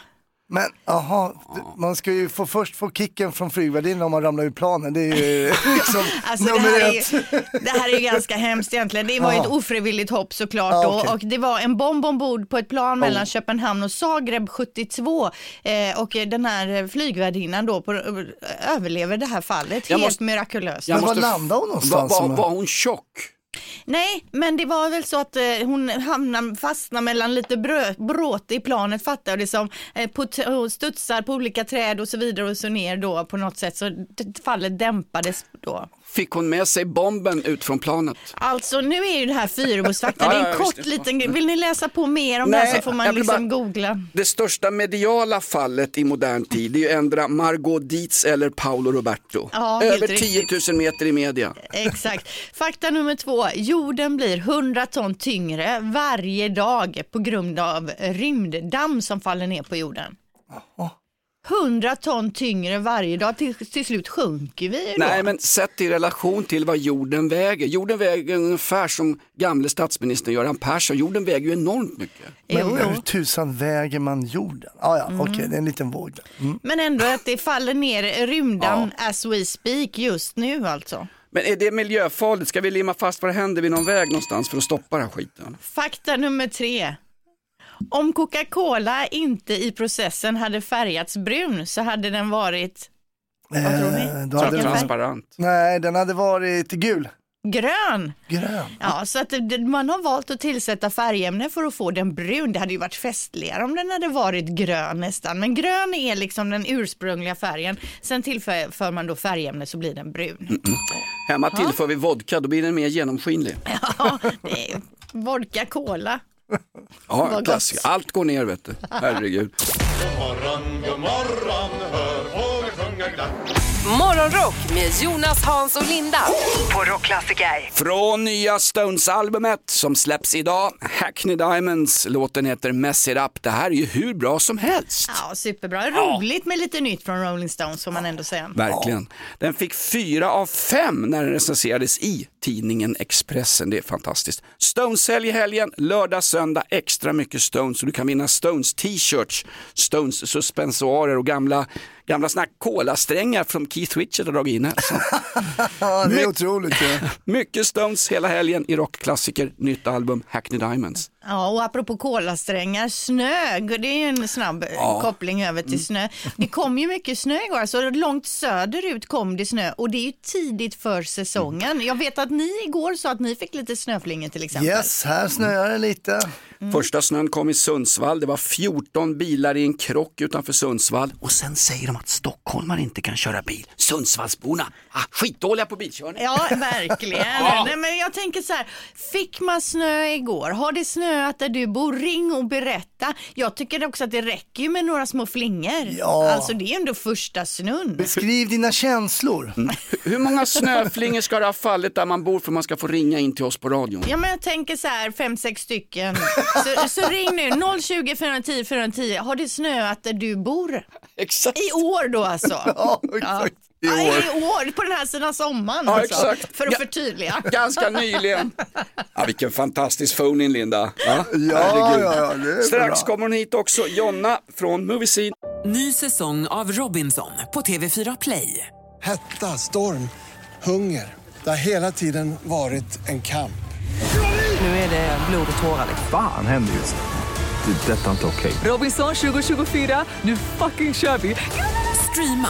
[SPEAKER 5] Men aha, d- man ska ju få, först få kicken från flygvärdinnan om man ramlar ur planen. Det är
[SPEAKER 4] [laughs]
[SPEAKER 5] ju liksom
[SPEAKER 4] Alltså, det,
[SPEAKER 5] nummer
[SPEAKER 4] här är
[SPEAKER 5] ett.
[SPEAKER 4] ju, det här är ju ganska hemskt egentligen. Det var ju
[SPEAKER 5] Ja.
[SPEAKER 4] ett ofrivilligt hopp såklart
[SPEAKER 5] Ja,
[SPEAKER 4] då.
[SPEAKER 5] okej.
[SPEAKER 4] Och det var en bomb ombord på ett plan mellan
[SPEAKER 5] Oh.
[SPEAKER 4] Köpenhamn och Zagreb 72. Eh, och den här flygvärdinnan då på, överlever det här fallet.
[SPEAKER 3] Jag
[SPEAKER 4] Helt
[SPEAKER 3] måste-
[SPEAKER 4] mirakulöst.
[SPEAKER 3] Jag måste- Var, var, var hon tjock?
[SPEAKER 4] Nej, men det var väl så att eh, hon hamnade, fastnade mellan lite brö, bråte i planet fattar jag det som. Eh, på t- och studsar på olika träd och så vidare och så ner då på något sätt. Så d- fallet dämpades då.
[SPEAKER 3] Fick hon med sig bomben ut från planet?
[SPEAKER 4] Alltså nu är ju det här Fyrebosfakta,
[SPEAKER 3] Ja,
[SPEAKER 4] det är
[SPEAKER 3] ja,
[SPEAKER 4] en
[SPEAKER 3] ja,
[SPEAKER 4] kort
[SPEAKER 3] visst.
[SPEAKER 4] liten grej. Vill ni läsa på mer om det
[SPEAKER 3] Nej,
[SPEAKER 4] här så får
[SPEAKER 3] jag
[SPEAKER 4] man
[SPEAKER 3] vill
[SPEAKER 4] liksom
[SPEAKER 3] bara-
[SPEAKER 4] googla.
[SPEAKER 3] Det största mediala fallet i modern tid är ju ändra Margot Dietz eller Paolo Roberto.
[SPEAKER 4] Ja, helt
[SPEAKER 3] Över 10 000 meter i media.
[SPEAKER 4] Exakt. Fakta nummer två. Jorden blir 100 ton tyngre varje dag på grund av rymddamm som faller ner på jorden. 100 ton tyngre varje dag. Till, till slut sjunker vi ju då.
[SPEAKER 3] Nej, men sett i relation till vad jorden väger. Jorden väger ungefär som gamle statsministern Göran Persson. Jorden väger ju enormt mycket.
[SPEAKER 5] Men hur tusan väger man jorden? Ah, ja,
[SPEAKER 4] Mm.
[SPEAKER 5] Okej, det är en liten våg där. Mm.
[SPEAKER 4] Men ändå att det faller ner rymddamm as we speak just nu alltså.
[SPEAKER 3] Men är det miljöfarligt? Ska vi limma fast vad händer vid någon väg någonstans för att stoppa den här skiten?
[SPEAKER 4] Fakta nummer tre. Om Coca-Cola inte i processen hade färgats brun så hade den varit
[SPEAKER 5] Vad tror ni? Eh, Då hade den,
[SPEAKER 3] Transparent.
[SPEAKER 5] nej, den hade varit gul.
[SPEAKER 4] grön.
[SPEAKER 5] Grön.
[SPEAKER 4] Ja, så att det- man har valt att tillsätta färgämne för att få den brun. Det hade ju varit festligare om den hade varit grön nästan. Men grön är liksom den ursprungliga färgen. Sen tillför man då färgämne så blir den brun.
[SPEAKER 3] Hemma tillför vi vodka, då blir den mer genomskinlig.
[SPEAKER 4] Ja, det är vodka cola. Vad
[SPEAKER 3] Ja,
[SPEAKER 4] gott.
[SPEAKER 3] klassiker. Allt går ner vet du. Herregud.
[SPEAKER 12] morgon, god morgon, hör fåglar sjunga glatt.
[SPEAKER 1] Morgonrock med Jonas, Hans och Linda på Rockklassiker.
[SPEAKER 3] Från nya Stones-albumet som släpps idag, Hackney Diamonds. Låten heter Mess It Up. Det här är ju hur bra som helst.
[SPEAKER 4] Ja, superbra. Roligt med lite nytt från Rolling Stones får man ändå säga.
[SPEAKER 3] Verkligen. Den fick fyra av fem när den recenserades i tidningen Expressen. Det är fantastiskt. Stones-helg i helgen, lördag, söndag, extra mycket Stones. Och du kan vinna Stones t-shirts, Stones suspensoarer och gamla gamla såna här kolasträngar som Keith Richard har dragit in här.
[SPEAKER 5] [laughs] Ja, det är
[SPEAKER 3] My-
[SPEAKER 5] otroligt ju.
[SPEAKER 3] Mycket Stones hela helgen i rockklassiker, nytt album Hackney Diamonds.
[SPEAKER 4] Ja, och apropå kolasträngar, snö, det är ju en snabb eh,
[SPEAKER 3] Ja.
[SPEAKER 4] koppling över till snö. Det kom ju mycket snö igår, så långt söderut kom det snö och det är ju tidigt för säsongen. Jag vet att ni igår sa att ni fick lite snöflingor till exempel.
[SPEAKER 5] Yes, här snöar det lite.
[SPEAKER 3] Första snön kom i Sundsvall, det var 14 bilar i en krock utanför Sundsvall och sen säger de att stockholmare inte kan köra bil. Sundsvallsborna, ah, skitdåliga på bilkörning.
[SPEAKER 4] Ja, verkligen.
[SPEAKER 3] Ja.
[SPEAKER 4] Nej, men jag tänker så här, fick man snö igår? Har det snöat där du bor? Ring och berätta. Jag tycker också att det räcker ju med några små flingor.
[SPEAKER 5] Ja.
[SPEAKER 4] Alltså det är ju ändå första snön.
[SPEAKER 5] Beskriv dina känslor.
[SPEAKER 3] Hur många snöflingor ska det ha fallit där man bor för man ska få ringa in till oss på radion?
[SPEAKER 4] Ja men jag tänker så här, fem, sex stycken. Så, så ring nu, 020 410 410. Har det snöat där du bor?
[SPEAKER 3] Exakt.
[SPEAKER 4] I år då alltså?
[SPEAKER 5] [laughs] Ja, exakt.
[SPEAKER 4] I
[SPEAKER 5] I
[SPEAKER 4] år.
[SPEAKER 5] år.
[SPEAKER 4] I år, på den här sidan sommaren
[SPEAKER 3] Ja,
[SPEAKER 4] alltså.
[SPEAKER 3] exakt.
[SPEAKER 4] För att
[SPEAKER 3] Ja.
[SPEAKER 4] förtydliga.
[SPEAKER 3] Ganska nyligen. Ja, vilken fantastisk phone in Linda. Ja,
[SPEAKER 5] ja, ja, det är
[SPEAKER 3] Strax
[SPEAKER 13] bra.
[SPEAKER 3] kommer hon hit också, Jonna från Movie Scene.
[SPEAKER 13] Ny säsong av Robinson på TV4 Play.
[SPEAKER 10] Hetta, storm, hunger. Det har hela tiden varit en kamp.
[SPEAKER 13] Nu är det blod och tårar. liksom.
[SPEAKER 14] Fan händer just det. Det är detta inte okej.
[SPEAKER 13] Robinson 2024, nu fucking kör vi! Streama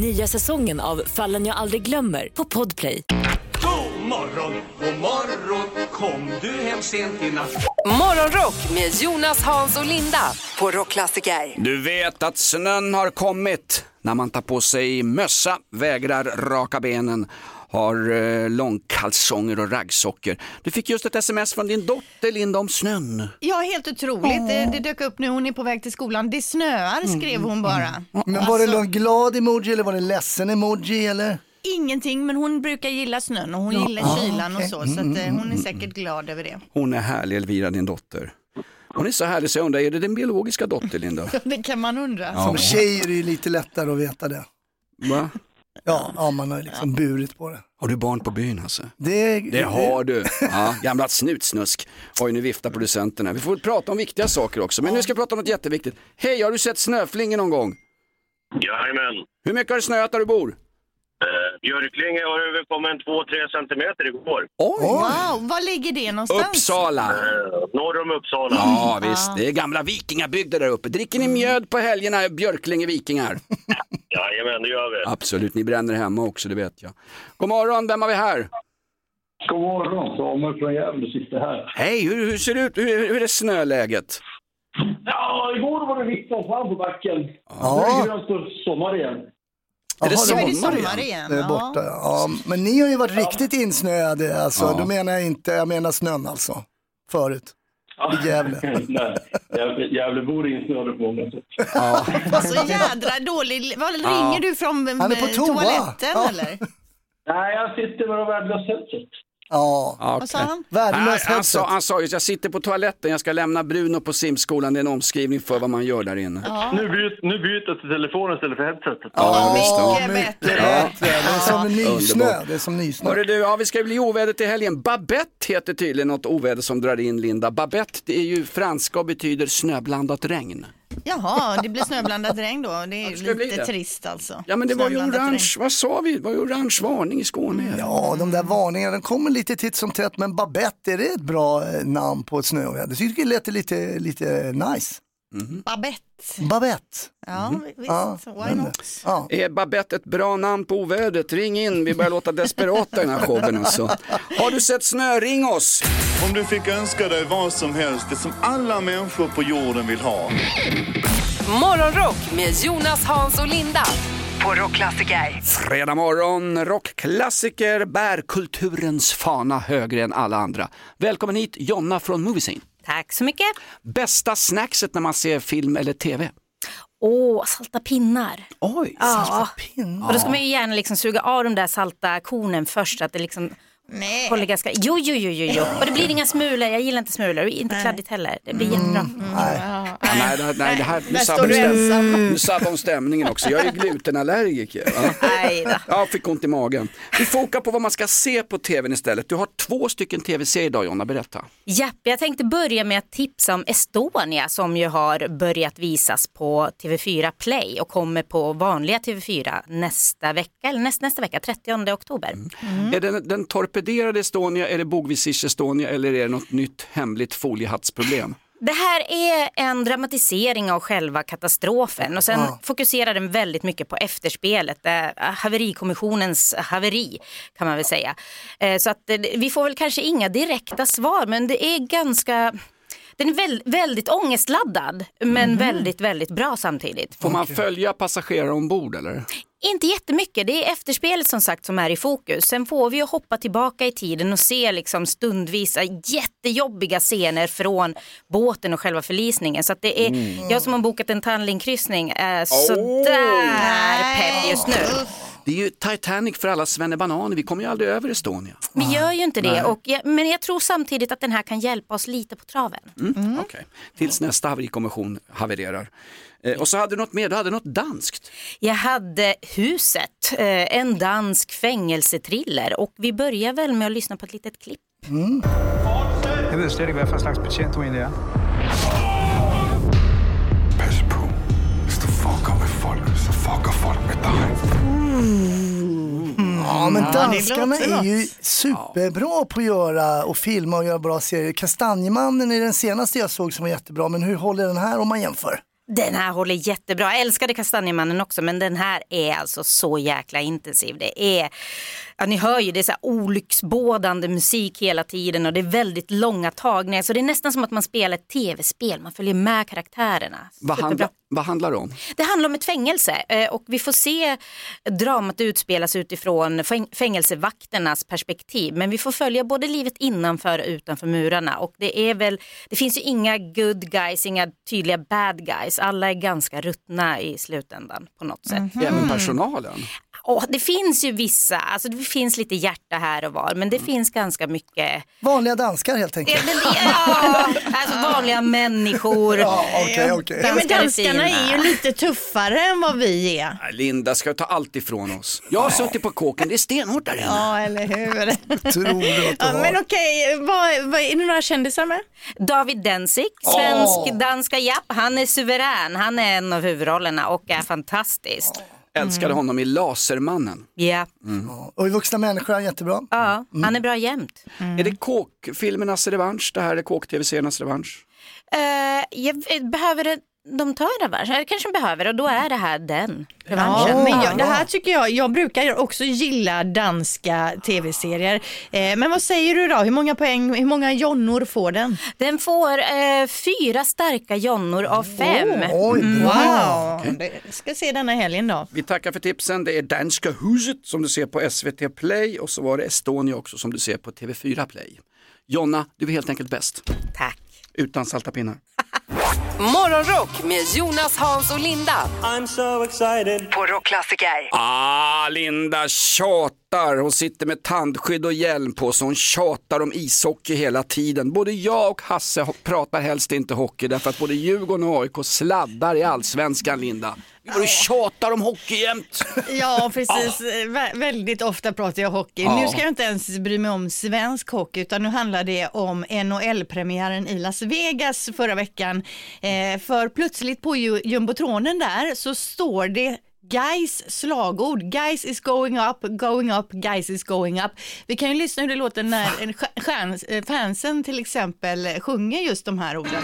[SPEAKER 15] Nya säsongen av Fallen jag aldrig glömmer på Podplay.
[SPEAKER 7] God morgon, god morgon, kom du hem sent i natt?
[SPEAKER 1] Morgonrock med Jonas, Hans och Linda på Rockklassiker.
[SPEAKER 3] Du vet att snön har kommit när man tar på sig mössa, vägrar raka benen, har eh, långkalsonger och raggsockor. Du fick just ett sms från din dotter Linda om snön.
[SPEAKER 4] Ja, helt otroligt. Det, det dök upp nu, hon är på väg till skolan. Det snöar skrev hon bara.
[SPEAKER 5] Mm. Men var det
[SPEAKER 4] Alltså-
[SPEAKER 5] någon glad emoji eller var det ledsen emoji eller?
[SPEAKER 4] Ingenting, men hon brukar gilla snön och hon
[SPEAKER 5] Ja,
[SPEAKER 4] gillar
[SPEAKER 5] ah,
[SPEAKER 4] kylan
[SPEAKER 5] okej. mm,
[SPEAKER 4] och så. Så att, eh, hon är säkert glad över det. [laughs]
[SPEAKER 3] Hon är härlig Elvira, din dotter. Hon är så härlig så jag undrar, är det din biologiska dotter Linda?
[SPEAKER 4] Det kan man undra.
[SPEAKER 5] Som tjej är det ju lite lättare att veta det.
[SPEAKER 3] Va?
[SPEAKER 5] Ja, ja man har liksom burit på det.
[SPEAKER 3] Har du barn på byn alltså?
[SPEAKER 5] Det,
[SPEAKER 3] Det har du. Ja, gamla snutsnusk. Oj, nu viftar producenten här. Vi får prata om viktiga saker också. Men nu ska vi prata om något jätteviktigt. Hej, har du sett snöflingor någon gång?
[SPEAKER 16] Jajamän.
[SPEAKER 3] Hur mycket har det snöat där du bor?
[SPEAKER 16] Eh, Björklinge har överkommit 2-3 centimeter igår.
[SPEAKER 4] Wow, var ligger det någonstans?
[SPEAKER 3] Uppsala.
[SPEAKER 16] Eh, norr om Uppsala.
[SPEAKER 3] Ja, Mm. visst. Det är gamla vikingabygder där uppe. Dricker ni mjöd på helgerna, Björklinge vikingar?
[SPEAKER 16] Jajamän, det gör vi.
[SPEAKER 3] Absolut, ni bränner hemma också, det vet jag. God morgon, vem har vi här?
[SPEAKER 17] God morgon, Samuel från Gävle sitter här.
[SPEAKER 3] Hej, hur, hur ser det ut? Hur, hur är snöläget?
[SPEAKER 17] Ja, igår var det riktigt varmt på backen.
[SPEAKER 3] Ja.
[SPEAKER 17] Nu är det grönt och sommar [laughs] igen.
[SPEAKER 5] Jaha,
[SPEAKER 17] det sommar
[SPEAKER 4] igen? igen,
[SPEAKER 5] Det är
[SPEAKER 4] ja.
[SPEAKER 5] borta, ja. Men ni har ju varit riktigt insnöade alltså.
[SPEAKER 17] Ja.
[SPEAKER 5] Då menar jag inte, jag menar snön alltså. Förut. I Gävle.
[SPEAKER 17] Nej, Gävle- Gävlebor är insnöade på många sätt.
[SPEAKER 4] Så jädra dålig. Var
[SPEAKER 17] Ja.
[SPEAKER 4] ringer du från eh,
[SPEAKER 17] Han är på toa.
[SPEAKER 4] toaletten
[SPEAKER 17] Ja.
[SPEAKER 4] eller?
[SPEAKER 17] Nej, jag sitter med de värdelösa headset.
[SPEAKER 5] Ja.
[SPEAKER 3] Vad
[SPEAKER 4] sa han?
[SPEAKER 5] Värdelös
[SPEAKER 3] han,
[SPEAKER 5] headset.
[SPEAKER 3] sa, han sa just, jag sitter på toaletten, jag ska lämna Bruno på simskolan. Det är en omskrivning för vad man gör där inne.
[SPEAKER 17] Nu, byt, nu byter jag till telefonen istället för headsetet.
[SPEAKER 3] Ja, visst, ja.
[SPEAKER 17] mycket
[SPEAKER 3] Ja.
[SPEAKER 5] Det är som nysnö.
[SPEAKER 3] Underbart.
[SPEAKER 5] Det är som nysnö.
[SPEAKER 3] Hörru du, ja, vi ska bli ovädret i helgen. Babette heter tydligen något oväder som drar in Linda. Babette det är ju franska och betyder snöblandat regn.
[SPEAKER 4] Jaha, det blir snöblandat regn då. Det är ju
[SPEAKER 3] ska bli
[SPEAKER 4] lite
[SPEAKER 3] det.
[SPEAKER 4] trist alltså.
[SPEAKER 3] Ja men det var ju
[SPEAKER 4] Snöblandat regn.
[SPEAKER 3] orange, vad sa vi? Det var ju orange varning i Skåne.
[SPEAKER 5] Ja, de där varningarna de kommer lite titt som tätt, men Babette, är det ett bra eh, namn på ett snöoväder? Jag tycker det lät lite, lite nice.
[SPEAKER 4] Babette.
[SPEAKER 5] Babette.
[SPEAKER 4] Ja, visst.
[SPEAKER 5] Mm. Ja,
[SPEAKER 4] Why not?
[SPEAKER 3] Är Babette ett bra namn på ovädret? Ring in, vi börjar låta desperata i den här showen alltså. Har du sett snö, ring oss!
[SPEAKER 2] Om du fick önska dig vad som helst, det som alla människor på jorden vill ha.
[SPEAKER 1] Morgonrock med Jonas, Hans och Linda på Rockklassiker.
[SPEAKER 3] Fredag morgon, rockklassiker bär kulturens fana högre än alla andra. Välkommen hit Jonna från Moviescene.
[SPEAKER 18] Tack så mycket.
[SPEAKER 3] Bästa snackset när man ser film eller tv?
[SPEAKER 18] Åh, salta pinnar.
[SPEAKER 3] Oj,
[SPEAKER 18] ja.
[SPEAKER 5] pinnar.
[SPEAKER 18] Och då ska man ju gärna liksom suga av de där salta kornen först, att det liksom håller ganska... Jo, jo, jo, jo, jo. Och det blir inga smulor, jag gillar inte smulor, och inte kladdigt heller. Det blir jättebra.
[SPEAKER 3] Ja, nej, det här, nej, det här, nu
[SPEAKER 18] Där
[SPEAKER 3] sabbar
[SPEAKER 18] står
[SPEAKER 3] hon
[SPEAKER 18] du
[SPEAKER 3] stäm-
[SPEAKER 18] ensam.
[SPEAKER 3] nu sabbar hon stämningen också. Jag är glutenallergiker. Ja. Jag fick ont i magen. Vi fokar på vad man ska se på tvn istället. Du har två stycken tv-serier idag Jonna, berätta.
[SPEAKER 18] Japp, jag tänkte börja med att tipsa om Estonia som ju har börjat visas på TV4 Play och kommer på vanliga TV4 nästa vecka, eller näst, nästa vecka, 30 oktober.
[SPEAKER 3] Är det den, den torpederade Estonia, är det bogvisirs Estonia eller är det något nytt hemligt foliehattsproblem?
[SPEAKER 18] Det här är en dramatisering av själva katastrofen och sen
[SPEAKER 3] Ja.
[SPEAKER 18] fokuserar den väldigt mycket på efterspelet, eh, haverikommissionens haveri kan man väl säga. Eh, Så att eh, vi får väl kanske inga direkta svar men det är ganska den är väl, väldigt ångestladdad men väldigt, väldigt bra samtidigt.
[SPEAKER 3] Får man följa passagerare ombord eller?
[SPEAKER 18] Inte jättemycket, det är efterspelet som sagt som är i fokus. Sen får vi ju hoppa tillbaka i tiden och se liksom stundvisa jättejobbiga scener från båten och själva förlisningen. Så att det är
[SPEAKER 19] Mm.
[SPEAKER 18] jag som har bokat en Tandlinkryssning är
[SPEAKER 2] Oh.
[SPEAKER 18] sådär pepp just nu.
[SPEAKER 3] Det är ju Titanic för alla svennebanan. vi kommer ju aldrig över Estonia.
[SPEAKER 18] Vi gör ju inte
[SPEAKER 3] Nej.
[SPEAKER 18] det, och jag, men jag tror samtidigt att den här kan hjälpa oss lite på traven.
[SPEAKER 3] Mm. okej. Tills nästa haverikommission havererar. Eh, och så hade du något mer, du hade något danskt.
[SPEAKER 18] Jag hade Huset, eh, en dansk fängelsetriller och vi börjar väl med att lyssna på ett litet klipp.
[SPEAKER 20] Jeg ved slet ikke, hvad for en slags patient du egentlig er.
[SPEAKER 21] Så fuckar folk med dig.
[SPEAKER 5] Ja, men
[SPEAKER 20] Ja,
[SPEAKER 5] danskarna
[SPEAKER 20] det låter
[SPEAKER 5] är ju superbra på att göra och filma och göra bra serier. Kastanjemannen är den senaste jag såg som var jättebra, men hur håller den här om man jämför?
[SPEAKER 18] Den här håller jättebra. Jag älskade Kastanjemannen också, men den här är alltså så jäkla intensiv. Det är, ja, ni hör ju, det är så här olycksbådande musik hela tiden och det är väldigt långa tagningar. Så det är nästan som att man spelar ett tv-spel, man följer med karaktärerna.
[SPEAKER 3] Vad,
[SPEAKER 18] Superbra.
[SPEAKER 3] handla, vad handlar det om?
[SPEAKER 18] Det handlar om ett fängelse eh, och vi får se dramat utspelas utifrån fäng- fängelsevakternas perspektiv. Men vi får följa både livet innanför och utanför murarna. Och det, är väl, det finns ju inga good guys, inga tydliga bad guys. Alla är ganska ruttna i slutändan på något sätt.
[SPEAKER 3] Även personalen?
[SPEAKER 18] Och det finns ju vissa, alltså det finns lite hjärta här och var, men det finns ganska mycket
[SPEAKER 5] Vanliga danskar helt enkelt.
[SPEAKER 18] Ja, [laughs] alltså vanliga människor.
[SPEAKER 5] Ja, okej, okej.
[SPEAKER 4] Ja, men
[SPEAKER 18] Danskar är
[SPEAKER 4] danskarna
[SPEAKER 18] fina.
[SPEAKER 4] är ju lite tuffare än vad vi är.
[SPEAKER 3] Nej, Linda ska ta allt ifrån oss. Jag har suttit på kåken, det är stenhårt där inne.
[SPEAKER 4] Ja, eller hur?
[SPEAKER 3] Tror du att du
[SPEAKER 4] [laughs] ja,
[SPEAKER 3] har?
[SPEAKER 4] men okej, vad, vad, är det några kändisar med?
[SPEAKER 18] David Densik, svensk, danska, japp, han är suverän, han är en av huvudrollerna och är fantastisk.
[SPEAKER 3] Älskade honom i Lasermannen.
[SPEAKER 18] Ja,
[SPEAKER 3] Mm.
[SPEAKER 5] Och i vuxna människor är han jättebra.
[SPEAKER 18] ja han är bra jämt.
[SPEAKER 3] Är det kåkfilmernas revansch, det här är kåk-tv-seriernas revansch?
[SPEAKER 18] Eh, jag, behöver det, de ta en revansch? Eller kanske de behöver och då är det här den revanschen.
[SPEAKER 4] men jag, det här tycker jag, jag brukar också gilla danska tv-serier. Eh, men vad säger du då, hur många poäng, hur många jonnor får den?
[SPEAKER 18] Den får eh, fyra starka jonnor av fem. Mm.
[SPEAKER 4] Wow,
[SPEAKER 3] Okej.
[SPEAKER 4] Det- ska se denna helgen då.
[SPEAKER 3] Vi tackar för tipsen. Det är Danska huset som du ser på SVT Play och så var det Estonia också som du ser på TV4 Play. Jonna, du är helt enkelt bäst.
[SPEAKER 18] Tack.
[SPEAKER 3] Utan salta pinnar.
[SPEAKER 1] Morgonrock med Jonas, Hans och Linda. I'm so excited. På Rockklassiker.
[SPEAKER 3] Ah, Linda tjatar. Hon sitter med tandskydd och hjälm på så hon tjatar om ishockey hela tiden. Både jag och Hasse ho- pratar helst inte hockey därför att både Djurgården och AIK sladdar i allsvenskan, Linda. Vad du tjatar om hockey jämt.
[SPEAKER 4] Ja, precis. Eh, Vä- väldigt ofta pratar jag hockey.
[SPEAKER 3] Ja.
[SPEAKER 4] Nu ska jag inte ens bry mig om svensk hockey, utan nu handlar det om NHL-premiären i Las Vegas förra veckan. Eh, för plötsligt på ju- jumbotronen där så står det Guys slagord, Guys is going up, going up, Guys is going up. Vi kan ju lyssna hur det låter när en stjär- stjärns- eh, fansen till exempel sjunger just de här orden.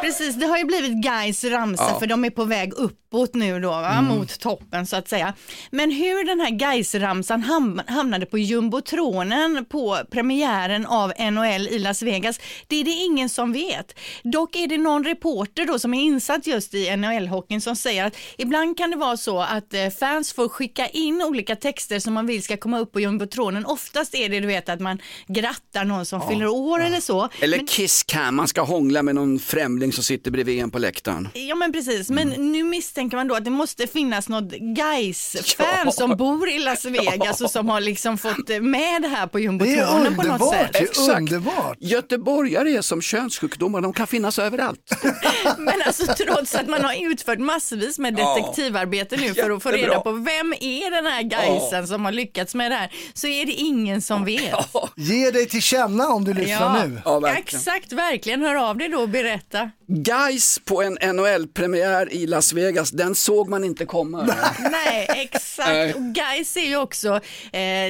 [SPEAKER 4] precis, det har ju blivit guys ramsa
[SPEAKER 3] Ja.
[SPEAKER 4] för de är på väg uppåt nu då, va?
[SPEAKER 3] Mm.
[SPEAKER 4] mot toppen så att säga. Men hur den här guys ramsan ham- hamnade på jumbotronen på premiären av NHL i Las Vegas, det är det ingen som vet. Dock är det någon reporter då som är insatt just i NHL-hockeyn som säger att ibland kan det vara så att eh, fans får skicka in olika texter som man vill ska komma upp på jumbotronen. Oftast är det du vet att man grattar någon som fyller år eller så.
[SPEAKER 3] Eller Kiss Cam, man ska hångla med någon främling som sitter bredvid en på läktaren.
[SPEAKER 4] Ja men precis, men nu misstänker man då att det måste finnas något guys fan som bor i Las Vegas och som har liksom fått eh, med det här på jumbotronen på något sätt.
[SPEAKER 3] underbart. Göteborgare är som könssjukdomar, de kan finnas överallt. [laughs]
[SPEAKER 4] Men alltså trots att man har utfört massvis med
[SPEAKER 3] Ja.
[SPEAKER 4] detektivarbete nu för att få
[SPEAKER 3] Jättebra.
[SPEAKER 4] reda på vem är den här guysen som har lyckats med det här så är det ingen som vet.
[SPEAKER 5] Ge dig till känna om du lyssnar nu.
[SPEAKER 4] exakt, verkligen. Hör av dig då och berätta.
[SPEAKER 3] Guys på en NHL-premiär i Las Vegas, den såg man inte komma.
[SPEAKER 4] Nej,
[SPEAKER 3] Nej.
[SPEAKER 4] exakt. Och guys är ju också eh,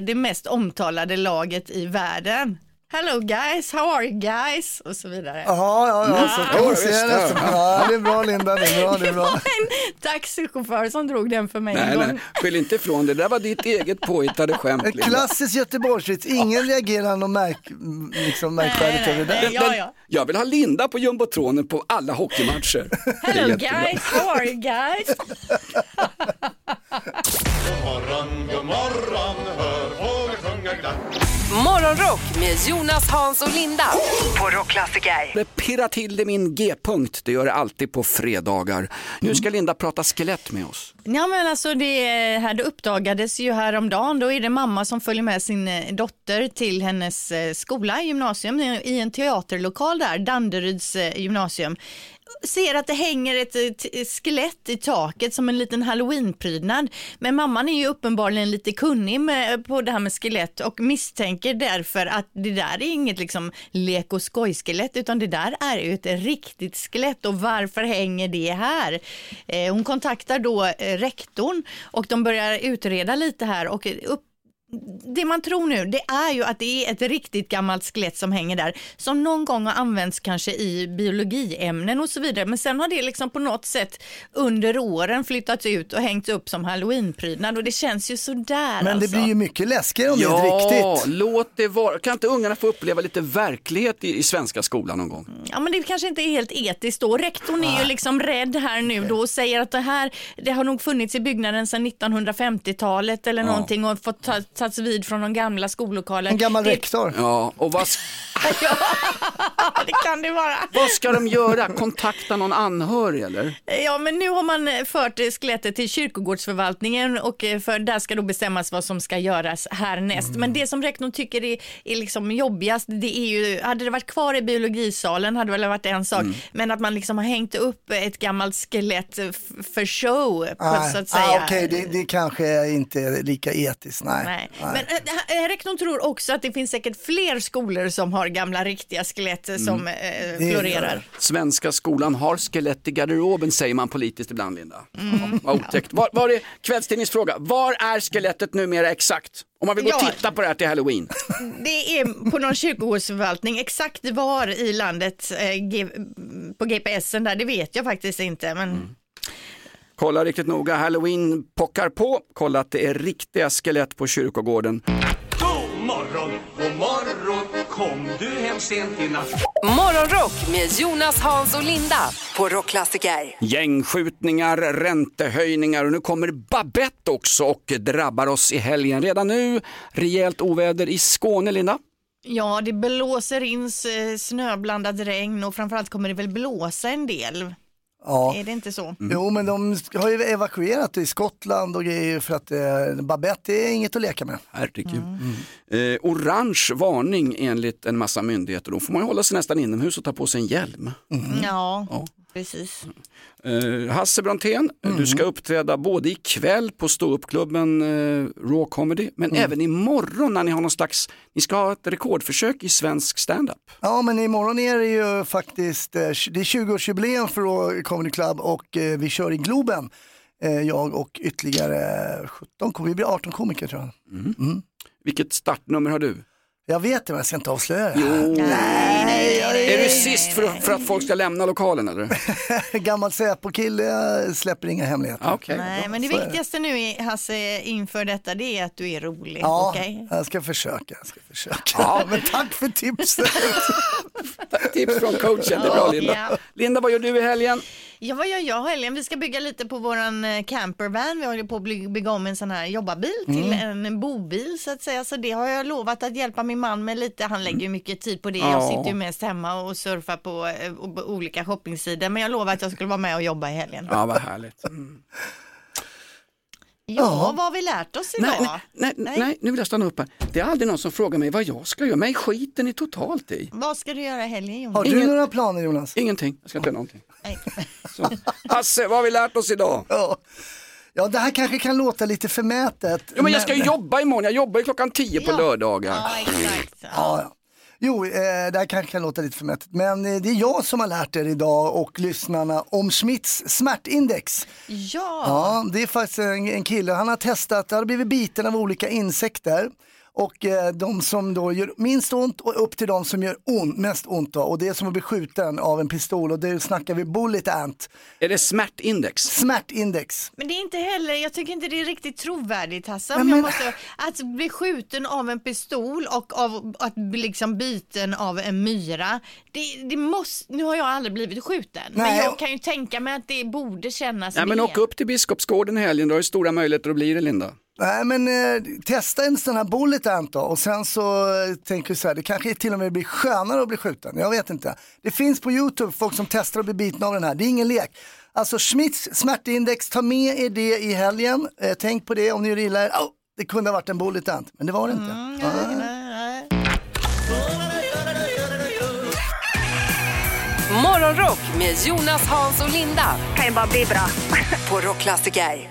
[SPEAKER 4] det mest omtalade laget i världen. Hello guys, how are you guys? Och så vidare.
[SPEAKER 5] Ja, ja, Mm. ja, så kan man se det. Ja, det är bra Linda, det är
[SPEAKER 4] [laughs]
[SPEAKER 5] bra, det är [laughs]
[SPEAKER 4] var
[SPEAKER 5] bra.
[SPEAKER 4] en taxichaufför som drog den för mig
[SPEAKER 3] Nej, [laughs]
[SPEAKER 4] en gång.
[SPEAKER 3] nej, skyll inte ifrån dig, det där var ditt eget påhittade skämt.
[SPEAKER 5] Ett
[SPEAKER 3] Linda.
[SPEAKER 5] klassiskt Göteborgsvits, ingen reagerar något märk, liksom märkvärdigt över det där.
[SPEAKER 3] Men Jag vill ha Linda på jumbotronen på alla [laughs] hockeymatcher. Det är
[SPEAKER 4] Hello
[SPEAKER 3] jättebra.
[SPEAKER 4] guys, how are you guys?
[SPEAKER 12] morgon, god morgon, hör fåglar sjunga glatt.
[SPEAKER 1] Morgonrock med Jonas, Hans och Linda på Rockklassiker.
[SPEAKER 3] Det pirrar till det i min G-punkt, det gör det alltid på fredagar. Nu ska Linda prata skelett med oss.
[SPEAKER 4] Ja men alltså det här det uppdagades ju häromdagen, då är det mamma som följer med sin eh, dotter till hennes eh, skola, gymnasium, i- i en teaterlokal där, Danderyds eh, gymnasium. Ser att det hänger ett eh, t- skelett i taket som en liten halloweenprydnad. Men mamman är ju uppenbarligen lite kunnig med, på det här med skelett och misstänker därför att det där är inget liksom lek och skojskelett utan det där är ju ett riktigt skelett och varför hänger det här? Eh, hon kontaktar då eh, rektorn och de börjar utreda lite här och upp det man tror nu det är ju att det är ett riktigt gammalt skelett som hänger där som någon gång har använts kanske i biologiämnen och så vidare men sen har det liksom på något sätt under åren flyttats ut och hängts upp som halloweenprydnad och det känns ju sådär
[SPEAKER 5] Men det
[SPEAKER 4] alltså.
[SPEAKER 5] blir ju mycket läskigare om det är ett
[SPEAKER 3] ja,
[SPEAKER 5] riktigt.
[SPEAKER 3] låt det vara. Kan inte ungarna få uppleva lite verklighet i, i svenska skolan någon gång?
[SPEAKER 4] Ja men det kanske inte är helt etiskt då. Rektorn är ju liksom rädd här nu då och säger att det här det har nog funnits i byggnaden sedan 1950-talet eller
[SPEAKER 3] Ja.
[SPEAKER 4] någonting och fått ta, tagits vid från de gamla skollokalen. det, [laughs]
[SPEAKER 3] Ja, och vad, s-
[SPEAKER 4] det kan det vara.
[SPEAKER 3] vad ska de göra? Kontakta någon anhörig eller?
[SPEAKER 4] Ja, men nu har man eh, fört eh, skelettet till kyrkogårdsförvaltningen och eh, för där ska då bestämmas vad som ska göras härnäst. Men det som rektorn tycker är, är liksom jobbigast, det är ju, hade det varit kvar i biologisalen hade väl varit en
[SPEAKER 5] Mm.
[SPEAKER 4] sak, men att man liksom har hängt upp ett gammalt skelett eh, f- för show, på,
[SPEAKER 5] Nej.
[SPEAKER 4] så att säga.
[SPEAKER 5] Ah, Okej, det, Ah. det kanske inte är lika etiskt. Nej.
[SPEAKER 4] Nej.
[SPEAKER 5] Nej.
[SPEAKER 4] Men äh, äh, rektorn tror också att det finns säkert fler skolor som har gamla riktiga skelett eh,
[SPEAKER 5] Mm.
[SPEAKER 4] som eh, florerar.
[SPEAKER 3] Svenska skolan har skelett i garderoben säger man politiskt ibland Linda. Ja, Vad otäckt. Var, var är, kvällstidningsfråga, var är skelettet numera exakt? Om man vill gå och
[SPEAKER 4] Ja.
[SPEAKER 3] titta på det här till halloween.
[SPEAKER 4] Det är på någon kyrkogårdsförvaltning. Exakt var i landet eh, G- på GPSen där, det vet jag faktiskt inte. Men
[SPEAKER 5] Mm.
[SPEAKER 3] Kolla riktigt noga, halloween pockar på. Kolla att det är riktiga skelett på kyrkogården.
[SPEAKER 12] God morgon, god morgon, kom du hem sent i natt.
[SPEAKER 1] Morgonrock med Jonas, Hans och Linda på Rockklassiker.
[SPEAKER 3] Gängskjutningar, räntehöjningar och nu kommer Babette också och drabbar oss i helgen. Redan nu rejält oväder i Skåne, Linda.
[SPEAKER 4] ja, det blåser in eh, snöblandat regn och framförallt kommer det väl blåsa en del.
[SPEAKER 5] Ja. Mm.
[SPEAKER 4] Är det inte så?
[SPEAKER 5] Jo, men de har ju evakuerat i Skottland och grejer för att eh, Babette är inget att leka med.
[SPEAKER 3] Herregud. Eh, orange varning enligt en massa myndigheter. Då får man ju hålla sig nästan inomhus och ta på sig en hjälm.
[SPEAKER 5] Mm.
[SPEAKER 4] Ja, precis.
[SPEAKER 3] Eh, Hasse Brontén, du ska uppträda både ikväll på ståuppklubben eh, Raw Comedy, men även imorgon när ni har någon slags, ni ska ha ett rekordförsök i svensk standup.
[SPEAKER 5] Ja, men imorgon är det ju faktiskt, eh, det är 20-årsjubileum för Raw Comedy Club och eh, vi kör i Globen. Eh, jag och ytterligare 17, kom- vi blir 18 komiker tror jag.
[SPEAKER 3] Vilket startnummer har du?
[SPEAKER 5] Jag vet det, men jag ska inte avslöja det.
[SPEAKER 3] Jo.
[SPEAKER 5] Nej, jag är
[SPEAKER 3] Är du sist för, för att folk ska lämna lokalen [laughs] eller?
[SPEAKER 5] [laughs] Gammal Säpo-kille eh, släpper inga
[SPEAKER 3] Ah,
[SPEAKER 5] hemligheter.
[SPEAKER 4] Nej, men det
[SPEAKER 5] Så är
[SPEAKER 4] viktigaste nu är, Hasse inför detta det är att du är rolig.
[SPEAKER 5] Ja,
[SPEAKER 4] okej?
[SPEAKER 5] jag ska försöka. Jag ska försöka.
[SPEAKER 3] Ja.
[SPEAKER 5] [laughs] men tack för
[SPEAKER 3] [laughs]
[SPEAKER 5] tipset.
[SPEAKER 3] Tips från coachen, det är bra Linda.
[SPEAKER 4] Ja.
[SPEAKER 3] Linda, vad gör du i helgen?
[SPEAKER 4] Ja, vad gör jag helgen? Vi ska bygga lite på våran eh, campervan. Vi håller på att bli- bygga om en sån här jobbarbil till
[SPEAKER 3] Mm.
[SPEAKER 4] en bobil så att säga. Så det har jag lovat att hjälpa min man med lite. Han lägger ju mycket tid på det. Jag
[SPEAKER 3] Mm. Ja.
[SPEAKER 4] sitter ju mest hemma och surfar på, eh, o- på olika shoppingsidor. Men jag lovade att jag skulle vara med och jobba i helgen.
[SPEAKER 3] Ja, vad härligt.
[SPEAKER 4] Ja,
[SPEAKER 3] Ja.
[SPEAKER 4] vad har vi lärt oss idag?
[SPEAKER 3] Nej, nej, nej, nej. nu vill jag stanna upp här. Det är aldrig någon som frågar mig vad jag ska göra. Mig skiter ni totalt i.
[SPEAKER 4] Vad ska du göra i helgen Jonas?
[SPEAKER 3] Har du Ingen-
[SPEAKER 5] några planer Jonas?
[SPEAKER 3] Ingenting, jag ska inte göra någonting. [laughs] Så. Hasse, vad har vi lärt oss idag?
[SPEAKER 5] Ja. ja, det här kanske kan låta lite förmätet.
[SPEAKER 3] Jo, men jag ska ju jobba imorgon, jag jobbar ju klockan 10 på lördagar.
[SPEAKER 5] Ja, ja. Jo, eh, det här kanske kan låta lite förmätet, men eh, det är jag som har lärt er idag och lyssnarna om Schmitts smärtindex.
[SPEAKER 4] Ja.
[SPEAKER 5] Ja, det är faktiskt en, en kille, han har testat, han har blivit biten av olika insekter och eh, de som då gör minst ont och upp till de som gör on, mest ont då. och det är som att bli skjuten av en pistol och det snackar vi bullet ant.
[SPEAKER 3] Är det smärtindex?
[SPEAKER 5] Smärtindex.
[SPEAKER 4] Men det är inte heller, jag tycker inte det är riktigt trovärdigt Hasse.
[SPEAKER 5] Nej,
[SPEAKER 4] om jag
[SPEAKER 5] men-
[SPEAKER 4] måste, att bli skjuten av en pistol och av, att bli liksom biten av en myra. Det, det måste, nu har jag aldrig blivit skjuten, men
[SPEAKER 3] Nej.
[SPEAKER 4] jag kan ju tänka mig att det borde kännas
[SPEAKER 3] Ja, men
[SPEAKER 4] mer.
[SPEAKER 3] åk upp till Biskopsgården i helgen, du har ju stora möjligheter att bli det Linda.
[SPEAKER 5] Nej men eh, testa en sån här bullet ant då och sen så eh, tänker du så här, det kanske till och med blir skönare att bli skjuten, jag vet inte. Det finns på Youtube folk som testar att bli bitna av den här, det är ingen lek. Alltså Schmitts smärtindex, ta med er det i helgen, eh, tänk på det om ni gillar er. Au, det kunde ha varit en bullet ant, men det var det inte. Ah.
[SPEAKER 1] Morgonrock med Jonas, Hans och Linda. Kan ju bara bli bra. [laughs] På Rockklassiker.